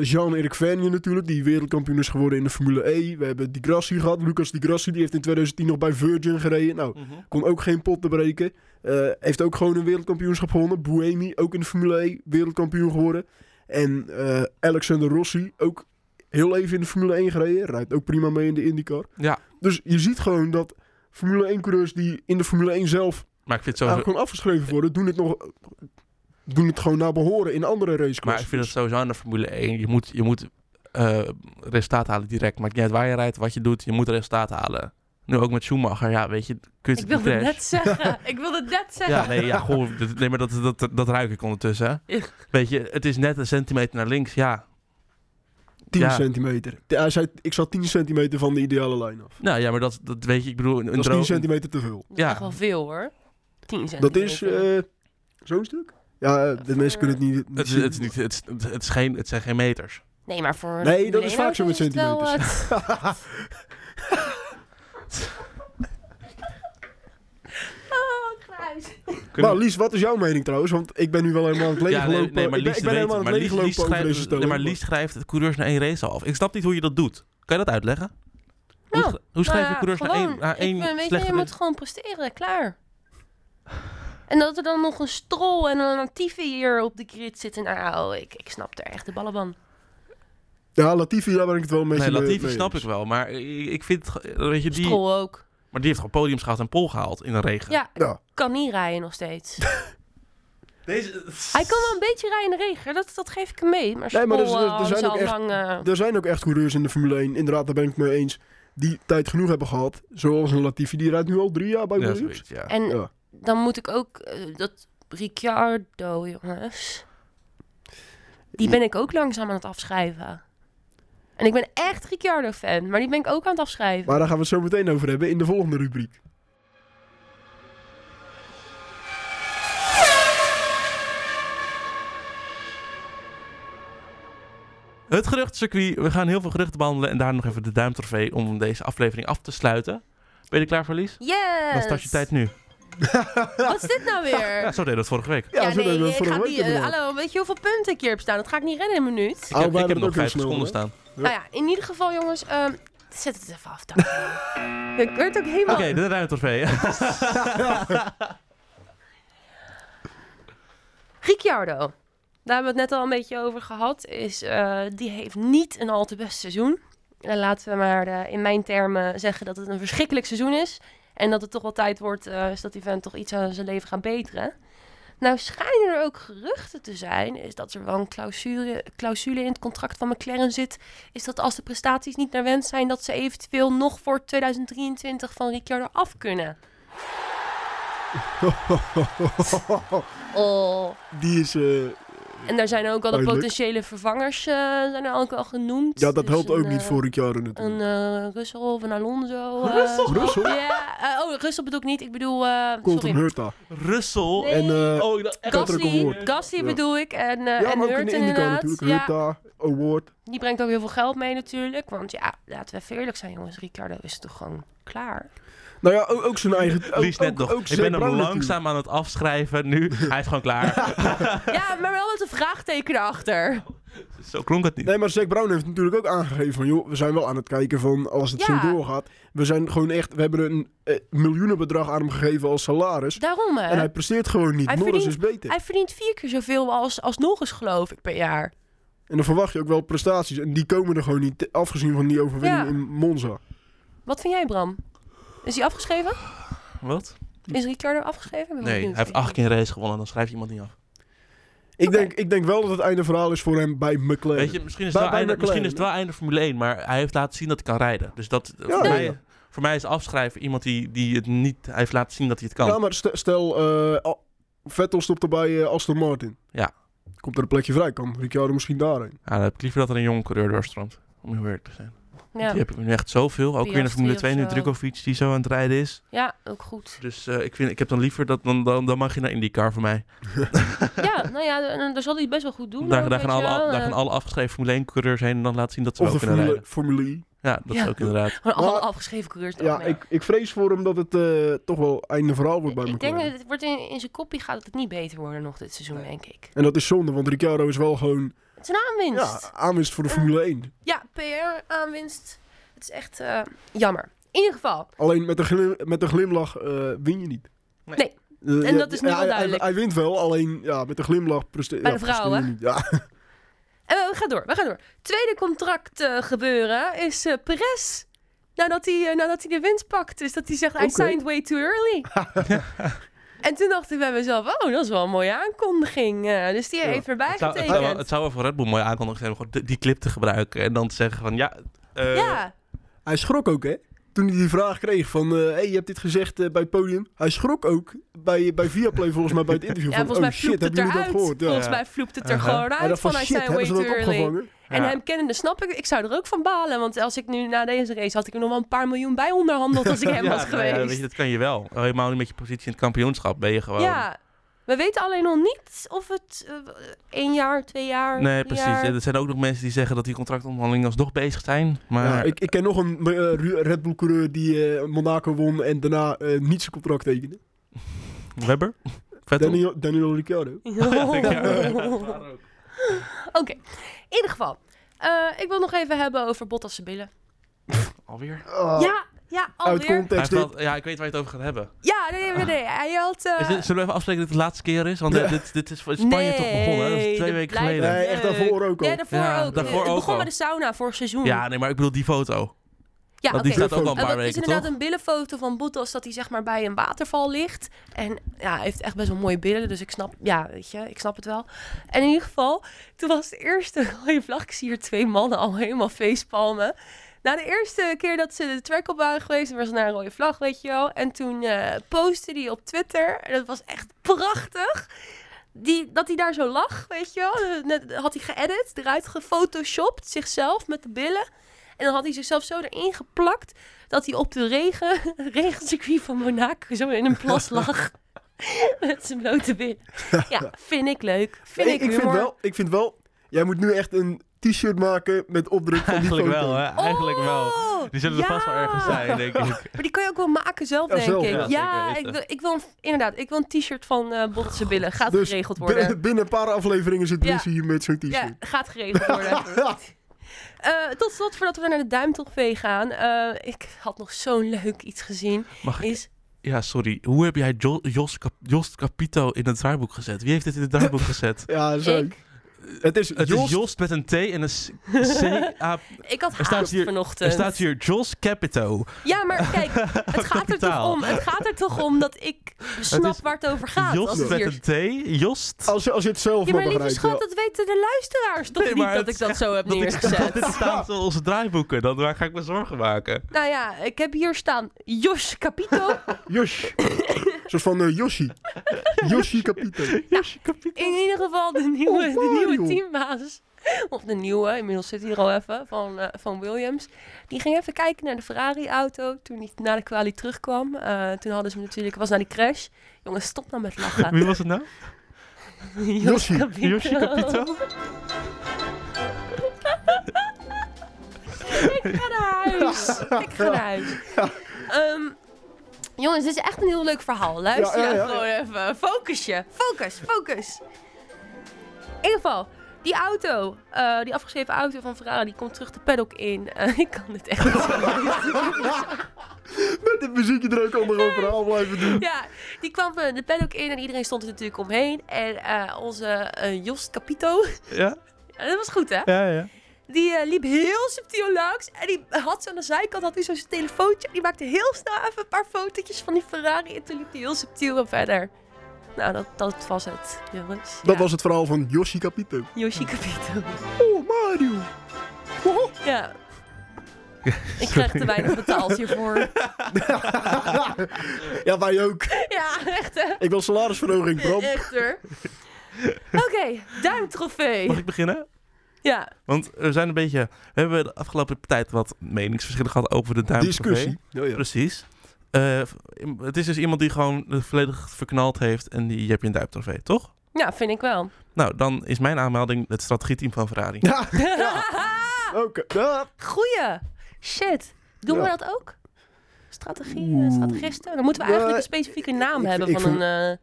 Speaker 2: Jean-Eric Vergne natuurlijk, die wereldkampioen is geworden in de Formule E. We hebben Di Grassi gehad. Lucas Di Grassi, die heeft in 2010 nog bij Virgin gereden. Nou,
Speaker 3: Mhm.
Speaker 2: kon ook geen pot te breken. Eh, heeft ook gewoon een wereldkampioenschap gewonnen. Buemi, ook in de Formule E, wereldkampioen geworden. En eh, Alexander Rossi, ook heel even in de Formule 1 gereden. Rijdt ook prima mee in de IndyCar.
Speaker 1: Ja.
Speaker 2: Dus je ziet gewoon dat Formule 1-coureurs die in de Formule 1 zelf
Speaker 1: maar ik vind het
Speaker 2: eigenlijk
Speaker 1: sowieso...
Speaker 2: gewoon
Speaker 1: eh,
Speaker 2: afgeschreven worden, doen het, nog, doen het gewoon naar behoren in andere Dus
Speaker 1: Maar ik
Speaker 2: raceklassen.
Speaker 1: vind het sowieso aan de Formule 1. Je moet, je moet eh, resultaat halen direct. Maakt niet uit waar je rijdt, wat je doet. Je moet resultaat halen. Nu ook met Schumacher. Ja, weet je, kunst
Speaker 3: Ik
Speaker 1: die
Speaker 3: wilde het
Speaker 1: crash.
Speaker 3: net zeggen. Ik wilde het net zeggen.
Speaker 1: Ja, nee, ja, goh, dat, nee, maar dat, dat, dat, ruik ik ondertussen. hè.
Speaker 3: Ja.
Speaker 1: Weet je, het is net een centimeter naar links. Ja,
Speaker 2: 10
Speaker 1: ja.
Speaker 2: centimeter. Ja, Hij zei, ik zat 10 centimeter van de ideale lijn af.
Speaker 1: nou ja, maar dat, dat weet je, ik bedoel, een, een
Speaker 2: Dat is 10
Speaker 1: droog...
Speaker 2: centimeter te veel.
Speaker 3: Dat is
Speaker 1: Ja.
Speaker 3: echt wel veel hoor. 10
Speaker 2: Dat is eh, zo'n stuk? Ja, eh, de mensen kunnen het niet, niet
Speaker 1: Het, is-
Speaker 2: zien.
Speaker 1: het, is niet, het, is- het, is geen, het zijn geen meters.
Speaker 3: Nee, maar voor...
Speaker 2: Nee,
Speaker 3: een
Speaker 2: dat is vaak zo met
Speaker 3: millennium is het wel, eh, Oh, kruis.
Speaker 2: Maar Lies, wat is jouw mening trouwens? Want ik ben nu wel helemaal aan het
Speaker 1: Ja,
Speaker 2: leeglopen.
Speaker 1: nee, nee, maar
Speaker 2: ik ben,
Speaker 1: Lies
Speaker 2: ik ben
Speaker 1: weet
Speaker 2: helemaal
Speaker 1: het.
Speaker 2: aan
Speaker 1: Maar
Speaker 2: het
Speaker 1: Lies-
Speaker 2: leeglopen
Speaker 1: Lies
Speaker 2: over deze
Speaker 1: schrijft-
Speaker 2: stelling.
Speaker 1: nee, maar Lies schrijft de coureurs naar één race af. Ik snap niet hoe je dat doet. Kan je dat uitleggen? Hoe,
Speaker 3: Nou,
Speaker 1: sch- hoe schrijf je
Speaker 3: Maar
Speaker 1: coureurs naar
Speaker 3: gewoon,
Speaker 1: één, naar
Speaker 3: ik vind,
Speaker 1: één
Speaker 3: weet je,
Speaker 1: slechte
Speaker 3: je moet gewoon presteren, klaar. En dat er dan nog een strol en een Latifi hier op de grid zitten. Nou, ik, ik snap er echt de ballen van.
Speaker 2: Ja, Latifi, daar ben ik het wel een beetje
Speaker 1: Nee,
Speaker 2: mee
Speaker 1: Latifi
Speaker 2: mee
Speaker 1: snap ik
Speaker 2: eens.
Speaker 1: wel, maar ik, ik vind, het ge- weet je, die,
Speaker 3: Strol ook.
Speaker 1: maar die heeft gewoon podiums gehad en pol gehaald in de regen.
Speaker 3: Ja,
Speaker 2: Ja.
Speaker 3: kan niet rijden nog steeds.
Speaker 1: Deze,
Speaker 3: Hij kan wel een beetje rijden in de regen, dat, dat geef ik hem mee. Maar
Speaker 2: Nee,
Speaker 3: Strol
Speaker 2: maar
Speaker 3: nee,
Speaker 2: er- er- er zijn ook
Speaker 3: al
Speaker 2: echt-
Speaker 3: lang... eh,
Speaker 2: Er zijn ook echt coureurs in de Formule 1, inderdaad, daar ben ik het mee eens, die tijd genoeg hebben gehad. Zoals een Latifi, die rijdt nu al drie jaar bij
Speaker 1: ja,
Speaker 2: Williams.
Speaker 1: zoiets, ja.
Speaker 3: en
Speaker 2: Ja.
Speaker 3: dan moet ik ook... eh, dat Ricciardo, jongens. Die ben ik ook langzaam aan het afschrijven. En ik ben echt Ricciardo-fan, maar die ben ik ook aan het afschrijven.
Speaker 2: Maar daar gaan we het zo meteen over hebben in de volgende rubriek.
Speaker 1: Het geruchtencircuit, we gaan heel veel geruchten behandelen en daar nog even de duimtrofee om deze aflevering af te sluiten. Ben je er klaar voor, Lies?
Speaker 3: Yes!
Speaker 1: Dan start je tijd nu.
Speaker 3: Wat is dit nou weer?
Speaker 1: Ja, zo deed dat vorige week.
Speaker 2: Ja, zo
Speaker 3: nee,
Speaker 2: deden we het
Speaker 3: ik
Speaker 2: vorige
Speaker 3: ga
Speaker 2: week
Speaker 3: niet... eh,
Speaker 2: inderdaad.
Speaker 3: hallo, weet je hoeveel punten ik hier heb staan? Dat ga ik niet redden in een minuut.
Speaker 1: Ik
Speaker 2: Oh,
Speaker 1: heb,
Speaker 2: wij
Speaker 1: ik heb
Speaker 2: hebben het
Speaker 1: nog
Speaker 2: ook heel
Speaker 1: vijf
Speaker 2: snel,
Speaker 1: seconden
Speaker 2: hè?
Speaker 1: staan.
Speaker 3: Nou ja, in ieder geval jongens, ehm, zet het even af. dank je. Ik werd ook helemaal...
Speaker 1: Oké, de duimtrofee.
Speaker 3: Ricciardo, daar hebben we het net al een beetje over gehad, is, eh, die heeft niet een al te best seizoen. En laten we maar eh, in mijn termen zeggen dat het een verschrikkelijk seizoen is. En dat het toch wel tijd wordt eh, is dat die vent toch iets aan zijn leven gaat beteren. Nou schijnen er ook geruchten te zijn, is dat er wel een clausule, clausule in het contract van McLaren zit. Is dat als de prestaties niet naar wens zijn, dat ze eventueel nog voor 2023 van Ricciardo af kunnen. Oh.
Speaker 2: Die is... eh,
Speaker 3: En daar zijn ook al de
Speaker 2: Duidelijk.
Speaker 3: potentiële vervangers eh, zijn er ook al genoemd.
Speaker 2: Oh, ja, dat
Speaker 3: Dus
Speaker 2: helpt
Speaker 3: een,
Speaker 2: ook niet
Speaker 3: eh,
Speaker 2: voor Ricciardo
Speaker 3: Een
Speaker 2: natuurlijk.
Speaker 3: eh Russell of een Alonso. eh.
Speaker 2: Russell?
Speaker 3: Ja, eh, oh, Russell bedoel ik niet. Ik bedoel, eh,
Speaker 2: Colton
Speaker 3: sorry.
Speaker 2: Hurta.
Speaker 1: Russell.
Speaker 3: Nee.
Speaker 2: En eh,
Speaker 1: Oh, ik dacht echt
Speaker 2: Gas- Patrick
Speaker 3: Gasly,
Speaker 2: Award.
Speaker 3: Gasly
Speaker 2: Ja.
Speaker 3: bedoel ik. En, eh
Speaker 2: ja, maar
Speaker 3: en
Speaker 2: ook in
Speaker 3: Hurt
Speaker 2: de IndyCar
Speaker 3: inderdaad.
Speaker 2: natuurlijk.
Speaker 3: Ja,
Speaker 2: Hurta, Award.
Speaker 3: die brengt ook heel veel geld mee natuurlijk. Want ja, laten we even eerlijk zijn jongens. Ricardo is toch gewoon klaar.
Speaker 2: Nou ja, ook, ook zijn eigen... Ook,
Speaker 1: Lies net
Speaker 2: ook-
Speaker 1: nog.
Speaker 2: ook
Speaker 1: ik
Speaker 2: Zac
Speaker 1: ben hem
Speaker 2: Brown
Speaker 1: langzaam
Speaker 2: natuurlijk.
Speaker 1: aan het afschrijven nu. Hij is gewoon klaar.
Speaker 3: ja, maar wel met een vraagteken erachter.
Speaker 1: Zo klonk het niet.
Speaker 2: Nee, maar Zack Brown heeft natuurlijk ook aangegeven van... joh, we zijn wel aan het kijken van als het
Speaker 3: Ja.
Speaker 2: zo doorgaat. We zijn gewoon echt... We hebben een eh, miljoenenbedrag aan hem gegeven als salaris.
Speaker 3: Daarom hè.
Speaker 2: En hij presteert gewoon niet.
Speaker 3: Hij
Speaker 2: Norris
Speaker 3: verdient-
Speaker 2: is beter.
Speaker 3: Hij verdient vier keer zoveel als, als nog eens geloof ik per jaar.
Speaker 2: En dan verwacht je ook wel prestaties. En die komen er gewoon niet, afgezien van die overwinning
Speaker 3: Ja.
Speaker 2: in Monza.
Speaker 3: Wat vind jij Bram? Is hij afgeschreven?
Speaker 1: Wat?
Speaker 3: Is Ricardo afgeschreven? Ik ben
Speaker 1: Nee, hij
Speaker 3: benieuwd.
Speaker 1: heeft acht keer een race gewonnen. Dan schrijft iemand niet af.
Speaker 2: Ik,
Speaker 3: Oké.
Speaker 2: denk, ik denk wel dat het einde verhaal is voor hem bij McLaren.
Speaker 1: Weet je, misschien is,
Speaker 2: Bij-
Speaker 1: het wel
Speaker 2: bij
Speaker 1: einde,
Speaker 2: McLaren.
Speaker 1: misschien is het wel einde Formule 1, maar hij heeft laten zien dat hij kan rijden. Dus dat, voor,
Speaker 2: ja,
Speaker 1: mij,
Speaker 2: ja.
Speaker 1: voor mij is afschrijven iemand die, die het niet... Hij heeft laten zien dat hij het kan.
Speaker 2: Ja, maar stel, stel eh, Al- Vettel stopt er bij eh, Aston Martin.
Speaker 1: Ja.
Speaker 2: Komt er een plekje vrij, kan Ricciardo misschien daarheen.
Speaker 1: Ja, Ah, dan heb ik liever dat er een jonge coureur doorstroomt. Om heel eerlijk te zijn.
Speaker 3: Ja,
Speaker 1: Die heb ik nu echt zoveel. Ook weer in de
Speaker 3: Piastri
Speaker 1: Formule
Speaker 3: of
Speaker 1: 2 nu
Speaker 3: zo.
Speaker 1: Drukovic die zo aan het rijden is.
Speaker 3: ja ook goed.
Speaker 1: Dus eh, ik, vind, ik heb dan liever dat... Dan, dan, dan mag je naar IndyCar voor mij.
Speaker 3: Ja, nou ja, en daar zal hij het best wel goed doen.
Speaker 1: daar,
Speaker 3: ook,
Speaker 1: daar, gaan
Speaker 3: weet
Speaker 1: alle,
Speaker 3: je wel.
Speaker 1: daar
Speaker 3: Eh,
Speaker 1: gaan alle afgeschreven Formule 1 coureurs heen. En dan laten zien dat ze
Speaker 2: Of
Speaker 1: wel
Speaker 2: de
Speaker 1: kunnen
Speaker 2: Formule,
Speaker 1: rijden.
Speaker 2: Formule E.
Speaker 1: Ja, dat is
Speaker 3: Ja.
Speaker 1: ook inderdaad.
Speaker 3: Gewoon alle
Speaker 2: Maar-
Speaker 3: afgeschreven coureurs.
Speaker 2: Ja, ik, ik vrees voor hem dat het eh, toch wel einde verhaal wordt bij
Speaker 3: ik denk dat
Speaker 2: McLaren.
Speaker 3: het wordt in, in zijn kopie gaat het niet beter worden nog dit seizoen,
Speaker 2: Nee.
Speaker 3: denk ik.
Speaker 2: En dat is zonde, want Ricciardo is wel gewoon
Speaker 3: Het is een aanwinst.
Speaker 2: ja, aanwinst voor de Formule 1.
Speaker 3: Ja, PR-aanwinst. Het is echt eh, jammer. In ieder geval,
Speaker 2: Alleen met een, glim- met een glimlach eh, win je niet.
Speaker 1: Nee.
Speaker 3: Nee.
Speaker 2: Eh,
Speaker 3: En
Speaker 2: ja,
Speaker 3: dat is nu
Speaker 2: ja,
Speaker 3: wel
Speaker 2: hij-
Speaker 3: duidelijk.
Speaker 2: Hij, hij wint wel, alleen ja, met een glimlach presteert
Speaker 3: Bij
Speaker 2: ja,
Speaker 3: de vrouwen.
Speaker 2: presteer je niet. Ja,
Speaker 3: en we gaan door, we gaan door. Tweede contract eh, gebeuren is eh Perez. Nadat hij, eh, nadat hij de winst pakt. Dus dat hij zegt, I
Speaker 2: Oké.
Speaker 3: signed way too early. en toen dacht ik bij mezelf, oh, dat is wel een mooie aankondiging. eh, dus die
Speaker 2: Ja.
Speaker 3: heeft erbij
Speaker 1: Het zou, het, zou wel,
Speaker 3: getekend.
Speaker 1: het zou wel voor Red Bull mooi aankondiging zijn om gewoon de- die clip te gebruiken. En dan te zeggen van ja... eh,
Speaker 3: Ja,
Speaker 2: hij schrok ook, hè? Toen hij die vraag kreeg van, eh hey, je hebt dit gezegd eh, bij het podium. Hij schrok ook bij, bij Viaplay volgens mij bij het interview.
Speaker 3: ja
Speaker 2: van,
Speaker 3: volgens
Speaker 2: oh
Speaker 3: mij
Speaker 2: shit,
Speaker 3: vloept het
Speaker 2: hebben jullie dat
Speaker 3: eruit.
Speaker 2: gehoord? Ja.
Speaker 3: Volgens
Speaker 1: Ja.
Speaker 3: mij vloept het er
Speaker 1: Aha.
Speaker 3: gewoon
Speaker 2: Hij
Speaker 3: uit
Speaker 2: dacht
Speaker 3: van,
Speaker 2: van,
Speaker 3: I
Speaker 2: shit,
Speaker 3: signed
Speaker 2: hebben
Speaker 3: way
Speaker 2: ze
Speaker 3: too
Speaker 2: dat
Speaker 3: early.
Speaker 2: opgevangen?
Speaker 3: En
Speaker 1: Ja.
Speaker 3: hem kennende snap ik, ik zou er ook van balen. Want als ik nu na deze race had ik er nog wel een paar miljoen bij onderhandeld als ik hem was
Speaker 1: nou ja,
Speaker 3: geweest.
Speaker 1: weet je, dat kan je wel. Helemaal niet met je positie in het kampioenschap ben je gewoon...
Speaker 3: Ja, we weten alleen nog niet of het eh, één jaar, twee jaar,
Speaker 1: Nee,
Speaker 3: drie
Speaker 1: precies.
Speaker 3: jaar-
Speaker 1: Er zijn ook nog mensen die zeggen dat die contractonderhandelingen alsnog bezig zijn. Maar
Speaker 2: Ja, ik, ik ken nog een eh, Ru- Red Bull coureur die eh, Monaco won en daarna eh, niet zijn contract tekende.
Speaker 1: Webber? Vettel?
Speaker 2: Daniel, Daniel Ricciardo.
Speaker 1: Ja, denk ik, ja.
Speaker 3: Oké, in ieder geval. eh, ik wil nog even hebben over Bottas' billen.
Speaker 1: Alweer?
Speaker 3: Oh.
Speaker 2: Oh.
Speaker 3: ja, ja,
Speaker 2: Uit
Speaker 3: alweer.
Speaker 1: Hij
Speaker 2: context dit.
Speaker 1: heeft wel- ja, ik weet waar je het over gaat hebben.
Speaker 3: Ja, nee, nee, nee. Hij had... eh,
Speaker 1: Is dit- zullen we even afspreken dat het de laatste keer is? Want
Speaker 2: Ja.
Speaker 1: dit- dit, dit is voor Spanje toch begonnen? hè? Dat
Speaker 3: Nee,
Speaker 1: is twee
Speaker 3: dat
Speaker 1: weken
Speaker 3: blijft-
Speaker 1: geleden.
Speaker 2: Nee, echt daarvoor ook al.
Speaker 3: ja, daarvoor
Speaker 1: Ja,
Speaker 3: ook.
Speaker 1: daarvoor
Speaker 3: het
Speaker 1: ook
Speaker 3: begon
Speaker 1: al.
Speaker 3: bij de sauna vorig seizoen.
Speaker 1: Ja, nee, maar ik bedoel die foto.
Speaker 3: ja
Speaker 1: Want die
Speaker 3: oké.
Speaker 1: staat ook al een
Speaker 3: Het
Speaker 1: paar
Speaker 3: Ah, is
Speaker 1: weken,
Speaker 3: inderdaad
Speaker 1: toch?
Speaker 3: een billenfoto van Bottas dat hij zeg maar bij een waterval ligt. En ja, hij heeft echt best wel mooie billen, dus ik snap, ja, weet je, ik snap het wel. En in ieder geval, toen was de eerste rode vlag. Ik zie hier twee mannen al helemaal facepalmen. Na de eerste keer dat ze de track op waren geweest, was het naar een rode vlag, weet je wel. En toen eh, postte hij op Twitter, en dat was echt prachtig. Die, dat hij daar zo lag, weet je wel. Eh, Net, had hij geëdit, eruit gefotoshopt, zichzelf met de billen. En dan had hij zichzelf zo erin geplakt dat hij op de regen, regencircuit van Monaco zo in een plas lag. Met zijn blote billen. Ja, vind ik leuk. Vind
Speaker 2: Nee,
Speaker 3: ik,
Speaker 2: ik, vind
Speaker 3: humor.
Speaker 2: wel, ik vind wel, jij moet nu echt een t-shirt maken met opdruk van die
Speaker 1: Eigenlijk
Speaker 2: foto.
Speaker 1: wel, hè? Eigenlijk wel.
Speaker 3: Oh,
Speaker 1: Die zullen er vast wel
Speaker 3: ja.
Speaker 1: ergens zijn, denk ik.
Speaker 3: Maar die kan je ook wel maken zelf,
Speaker 2: Ja,
Speaker 3: denk
Speaker 2: zelf,
Speaker 3: ik.
Speaker 2: ja,
Speaker 3: Ja,
Speaker 1: zeker
Speaker 3: ik,
Speaker 1: weten.
Speaker 3: wil, ik wil een, inderdaad, ik wil een t-shirt van eh Bottas' billen. Gaat
Speaker 2: Dus
Speaker 3: geregeld
Speaker 2: Bin-
Speaker 3: worden.
Speaker 2: binnen een paar afleveringen zit
Speaker 3: Ja.
Speaker 2: Bruce hier met zo'n
Speaker 3: Ja,
Speaker 2: t-shirt.
Speaker 3: gaat geregeld worden. Eh, tot slot, voordat we naar de duimtochtvee gaan. eh, ik had nog zo'n leuk iets gezien.
Speaker 1: Mag ik?
Speaker 3: Is,
Speaker 1: Ja, sorry. Hoe heb jij Jo- Jos, Cap- Jos Capito in het draaiboek gezet? Wie heeft dit in het draaiboek gezet?
Speaker 2: Ja, zo.
Speaker 3: Ik-
Speaker 2: Het is
Speaker 1: Het
Speaker 2: Jos.
Speaker 1: is Jos met een T en een C- C. A-
Speaker 3: ik had
Speaker 1: Er staat
Speaker 3: haast
Speaker 1: hier-
Speaker 3: vanochtend.
Speaker 1: Er staat hier Jos Capito.
Speaker 3: Ja, maar kijk, het gaat er toch
Speaker 1: Kapitaal.
Speaker 3: om. Het gaat er toch om dat ik snap
Speaker 1: is
Speaker 3: waar het over gaat. als
Speaker 1: Jost
Speaker 3: het
Speaker 1: met
Speaker 3: hier... Oh,
Speaker 1: een T. Jost.
Speaker 2: Als, je- als je het zelf
Speaker 3: Ja,
Speaker 2: maar
Speaker 3: maar lieve
Speaker 2: begrijpt.
Speaker 3: schat, dat weten de luisteraars toch
Speaker 1: Nee,
Speaker 3: niet
Speaker 1: maar
Speaker 3: dat
Speaker 1: het
Speaker 3: ik dat zo heb
Speaker 1: Dat, ik,
Speaker 3: neergezet.
Speaker 1: dat dit staat in onze draaiboeken. Dan waar ga ik me zorgen maken?
Speaker 3: Nou ja, ik heb hier staan Jos Capito.
Speaker 2: ja. Josh. Zoals van eh, Yoshi. Yoshi Capito.
Speaker 3: Nou.
Speaker 1: Jos Capito.
Speaker 3: In ieder geval de nieuwe, de nieuwe
Speaker 2: Mario.
Speaker 3: teambaas. Of de nieuwe, inmiddels zit hij er al even, van, eh, van Williams. Die ging even kijken naar de Ferrari-auto toen hij na de kwalie terugkwam. Eh, toen hadden ze hem natuurlijk, was naar die crash. Jongens, stop nou met lachen.
Speaker 1: Wie was het nou?
Speaker 3: Jos
Speaker 2: Yoshi.
Speaker 3: Capito.
Speaker 1: Yoshi Capito?
Speaker 3: Ik ga naar huis. Ik ga naar huis. Ehm, jongens, dit is echt een heel leuk verhaal. Luister
Speaker 2: Ja, ja, ja.
Speaker 3: nou gewoon even. Focus je. Focus, focus. In ieder geval, die auto, eh, die afgeschreven auto van Ferrari, die komt terug de paddock in. Eh, ik kan dit echt niet zo
Speaker 2: Met dit muziekje er ook allemaal gewoon verhaal blijven doen.
Speaker 3: Ja, die kwam eh, de paddock in en iedereen stond er natuurlijk omheen. En eh, onze eh, Jos Capito,
Speaker 1: Ja,
Speaker 3: Ja, dat was goed hè?
Speaker 1: ja, ja.
Speaker 3: Die eh, liep heel subtiel langs. En die had zo aan de zijkant had hij zo zijn telefoontje. Die maakte heel snel even een paar fotootjes van die Ferrari. En toen liep hij heel subtiel weer verder. Nou, dat, dat was het, jongens.
Speaker 2: Dat
Speaker 3: Ja.
Speaker 2: was het verhaal van Yoshi Capito.
Speaker 3: Yoshi Capito.
Speaker 2: Oh, Mario. Oh.
Speaker 3: Ja. Ik krijg te weinig betaald hiervoor.
Speaker 2: ja, wij ook.
Speaker 3: Ja, echt hè?
Speaker 2: Ik wil salarisverhoging, Bram.
Speaker 3: Echt hoor. Oké,
Speaker 1: Mag
Speaker 3: duimtrofee.
Speaker 1: ik beginnen?
Speaker 3: Ja,
Speaker 1: Want er zijn een beetje... We hebben de afgelopen tijd wat meningsverschillen gehad over de duim.
Speaker 2: Discussie. Ja, ja.
Speaker 1: Precies. Eh, het is dus iemand die gewoon het volledig verknald heeft en die heb je een duimtrofee, toch?
Speaker 3: ja vind ik wel.
Speaker 1: Nou, dan is mijn aanmelding het strategieteam van Ferrari.
Speaker 2: Ja, ja.
Speaker 3: Ah.
Speaker 2: Oké. Ja.
Speaker 3: Goeie. Shit. Doen we
Speaker 2: Ja.
Speaker 3: dat ook? Strategie, eh,
Speaker 2: Oeh.
Speaker 3: strategisten? Dan moeten we
Speaker 2: Ja,
Speaker 3: eigenlijk een specifieke naam
Speaker 2: ik-
Speaker 3: hebben
Speaker 2: ik
Speaker 3: van
Speaker 2: vind-
Speaker 3: een... eh,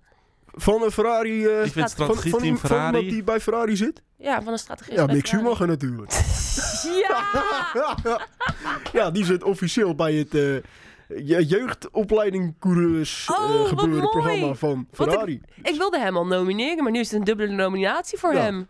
Speaker 2: Van een Ferrari... eh,
Speaker 1: Ik vind
Speaker 2: van,
Speaker 3: Van-
Speaker 2: van,
Speaker 1: strategieteam
Speaker 2: van iemand
Speaker 1: Ferrari...
Speaker 2: die bij Ferrari zit?
Speaker 3: eh, ja, van een strategist.
Speaker 2: Ja,
Speaker 3: bij
Speaker 2: Mick
Speaker 3: Ferrari.
Speaker 2: Schumacher natuurlijk.
Speaker 3: Ja!
Speaker 2: ja, die zit officieel bij het eh, je- jeugdopleiding coureurs eh,
Speaker 3: Oh, wat
Speaker 2: gebeuren
Speaker 3: mooi.
Speaker 2: programma van
Speaker 3: Wat een-
Speaker 2: Ferrari.
Speaker 3: Ik wilde hem al nomineren, maar nu is het een dubbele nominatie voor
Speaker 2: Ja.
Speaker 3: hem.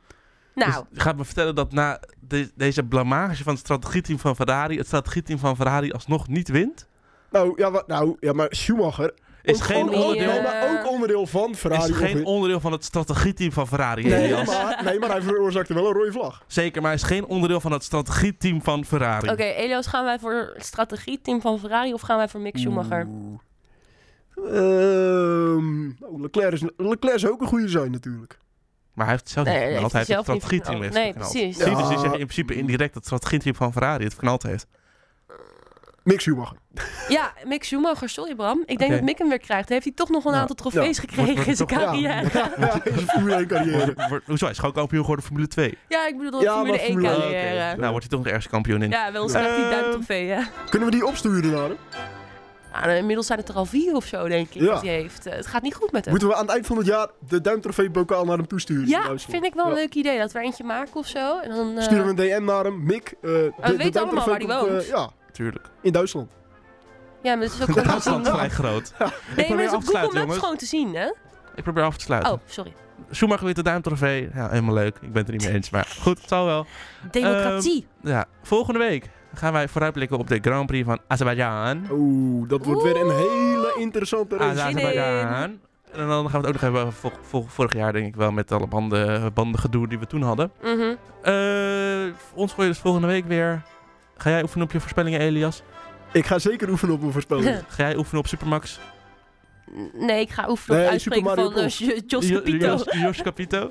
Speaker 3: Nou,
Speaker 1: Dus gaat me vertellen dat na de- deze blamage van het strategieteam van Ferrari... het strategieteam van Ferrari alsnog niet wint?
Speaker 2: Nou, ja, wa- nou, ja, maar Schumacher
Speaker 1: Is
Speaker 2: ook
Speaker 1: geen
Speaker 2: onder- ook-
Speaker 1: onderdeel,
Speaker 2: nee, maar ook onderdeel van Ferrari.
Speaker 1: is geen
Speaker 2: ongeveer.
Speaker 1: onderdeel van het strategieteam van Ferrari,
Speaker 2: nee,
Speaker 1: Elias.
Speaker 2: maar, nee, maar hij veroorzaakte wel een rode vlag.
Speaker 1: Zeker, maar is geen onderdeel van het strategieteam van
Speaker 2: Dus-
Speaker 1: Ferrari.
Speaker 3: oké, Elias, gaan wij voor het strategieteam van Ferrari of gaan wij voor Mick Schumacher?
Speaker 2: Oeh. Ehm, nou, Leclerc, is, Leclerc zou ook een goede zijn natuurlijk.
Speaker 1: Maar hij heeft het zelf
Speaker 3: Nee,
Speaker 1: niet
Speaker 3: hij
Speaker 1: verknald.
Speaker 3: heeft
Speaker 1: Hij heeft het
Speaker 3: het zelf niet
Speaker 1: strategieteam heeft verknald.
Speaker 3: verknald. Nee, precies.
Speaker 1: Zie, dus die
Speaker 2: Ja.
Speaker 1: zeggen in principe indirect dat het strategieteam van Ferrari het verknald heeft.
Speaker 2: Mick Schumacher.
Speaker 3: Ja, Mick Schumacher, sorry Bram. Ik denk
Speaker 1: Oké.
Speaker 3: dat Mick hem weer krijgt. Heeft hij toch nog een
Speaker 1: Nou,
Speaker 3: aantal trofees gekregen
Speaker 1: Wordt- wordt
Speaker 3: in zijn
Speaker 1: het toch-
Speaker 3: carrière? Ja,
Speaker 2: Ja, ja, is een Formule 1 carrière.
Speaker 1: Wordt- wordt- Hoezo, hij is gewoon kampioen geworden Formule 2.
Speaker 3: ik bedoel
Speaker 2: Ja,
Speaker 3: Formule
Speaker 2: maar
Speaker 3: 1
Speaker 2: Formule-
Speaker 3: carrière.
Speaker 1: Nou wordt hij toch nog ergens kampioen in.
Speaker 3: Ja, wel eens krijgt hij
Speaker 1: Eh,
Speaker 2: Ehm,
Speaker 3: duimtrofee, hè?
Speaker 2: Kunnen we die opsturen naar hem?
Speaker 3: Ah, nou, inmiddels zijn het er al vier of zo, denk ik,
Speaker 2: Ja.
Speaker 3: dat hij heeft. Eh, Het gaat niet goed met hem.
Speaker 2: Moeten we aan het eind van het jaar de duimtrofee-bokaal naar hem toesturen? in
Speaker 3: Ja,
Speaker 2: Duitsland?
Speaker 3: vind ik wel een
Speaker 2: nou Ja.
Speaker 3: leuk idee dat we er eentje maken of zo. En dan, eh,
Speaker 2: Sturen we een DM naar hem. Mick, eh de,
Speaker 3: weten
Speaker 2: de duimtrofee
Speaker 3: allemaal waar die
Speaker 2: komt, eh,
Speaker 3: woont.
Speaker 2: ja,
Speaker 1: Tuurlijk.
Speaker 2: in Duitsland.
Speaker 3: Ja, maar het is ook
Speaker 1: De
Speaker 3: gewoon te zien.
Speaker 1: afstand is vrij groot.
Speaker 3: Nee, maar
Speaker 1: probeer
Speaker 3: het is
Speaker 1: af
Speaker 3: op
Speaker 1: te
Speaker 3: Google
Speaker 1: sluiten,
Speaker 3: Maps
Speaker 1: jongens.
Speaker 3: gewoon te zien, hè?
Speaker 1: Ik probeer af te sluiten.
Speaker 3: Oh, sorry.
Speaker 1: Schumacher wint de duimtrofee. Ja, helemaal leuk. Ik ben het er niet mee eens, maar goed, het zal wel.
Speaker 3: Democratie.
Speaker 1: Ja, volgende week gaan wij vooruitblikken op de Grand Prix van Azerbeidzjan.
Speaker 2: Oh, Oeh, dat wordt weer een hele
Speaker 1: Ah,
Speaker 2: interessante race.
Speaker 3: zin
Speaker 1: Azerbeidzjan. En dan gaan we het ook nog hebben over vor- vor- vorig jaar, denk ik wel, met alle banden, bandengedoe die we toen hadden.
Speaker 2: Ehm,
Speaker 3: Mhm.
Speaker 1: Eh, ons gooi je dus volgende week weer. Ga jij oefenen op je voorspellingen, Elias?
Speaker 2: Ik ga zeker oefenen op mijn voorspelling.
Speaker 1: Ga jij oefenen op Supermax?
Speaker 3: Nee, ik ga oefenen op
Speaker 2: Nee,
Speaker 3: uitspreken
Speaker 2: Super Mario
Speaker 3: van eh, Jo- Jos
Speaker 1: Jo-
Speaker 3: Capito.
Speaker 1: Jos- Jos Capito.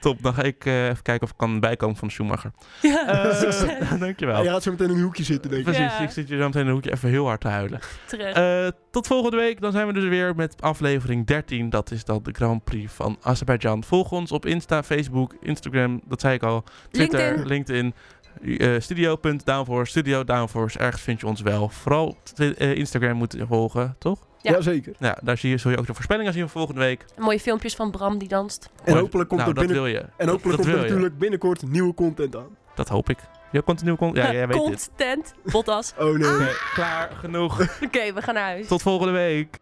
Speaker 1: Top, dan ga ik eh, even kijken of ik kan bijkomen van Schumacher.
Speaker 3: Ja, dus
Speaker 1: Eh,
Speaker 3: succes.
Speaker 1: dankjewel.
Speaker 2: Hij gaat zo meteen in een hoekje zitten, denk ik.
Speaker 1: Precies,
Speaker 3: Ja.
Speaker 1: ik zit hier zo meteen in een hoekje even heel hard te huilen.
Speaker 3: Terecht.
Speaker 1: Eh, tot volgende week. Dan zijn we dus weer met aflevering 13. Dat is dan de Grand Prix van Azerbeidzjan. Volg ons op Insta, Facebook, Instagram. Dat zei ik al. Twitter,
Speaker 3: LinkedIn.
Speaker 1: LinkedIn. eh studio.downforce, studio downforce. Ergens vind je ons wel. Vooral twi- eh, Instagram moet je volgen, toch?
Speaker 3: Ja.
Speaker 2: Jazeker.
Speaker 1: Ja, daar zie je, zul je ook de voorspellingen zien van volgende week.
Speaker 3: Mooie filmpjes van Bram die danst.
Speaker 2: En hopelijk komt
Speaker 1: nou,
Speaker 2: er binnen...
Speaker 1: dat wil je.
Speaker 2: En hopelijk
Speaker 1: dat
Speaker 2: komt er
Speaker 1: wil je.
Speaker 2: natuurlijk binnenkort nieuwe content aan.
Speaker 1: Dat hoop ik. Je continu kon... Ja, jij weet dit.
Speaker 3: Content. Bottas.
Speaker 2: Oh nee.
Speaker 1: Oké, klaar, genoeg.
Speaker 3: Oké, we gaan naar huis.
Speaker 1: Tot volgende week.
Speaker 3: Ah!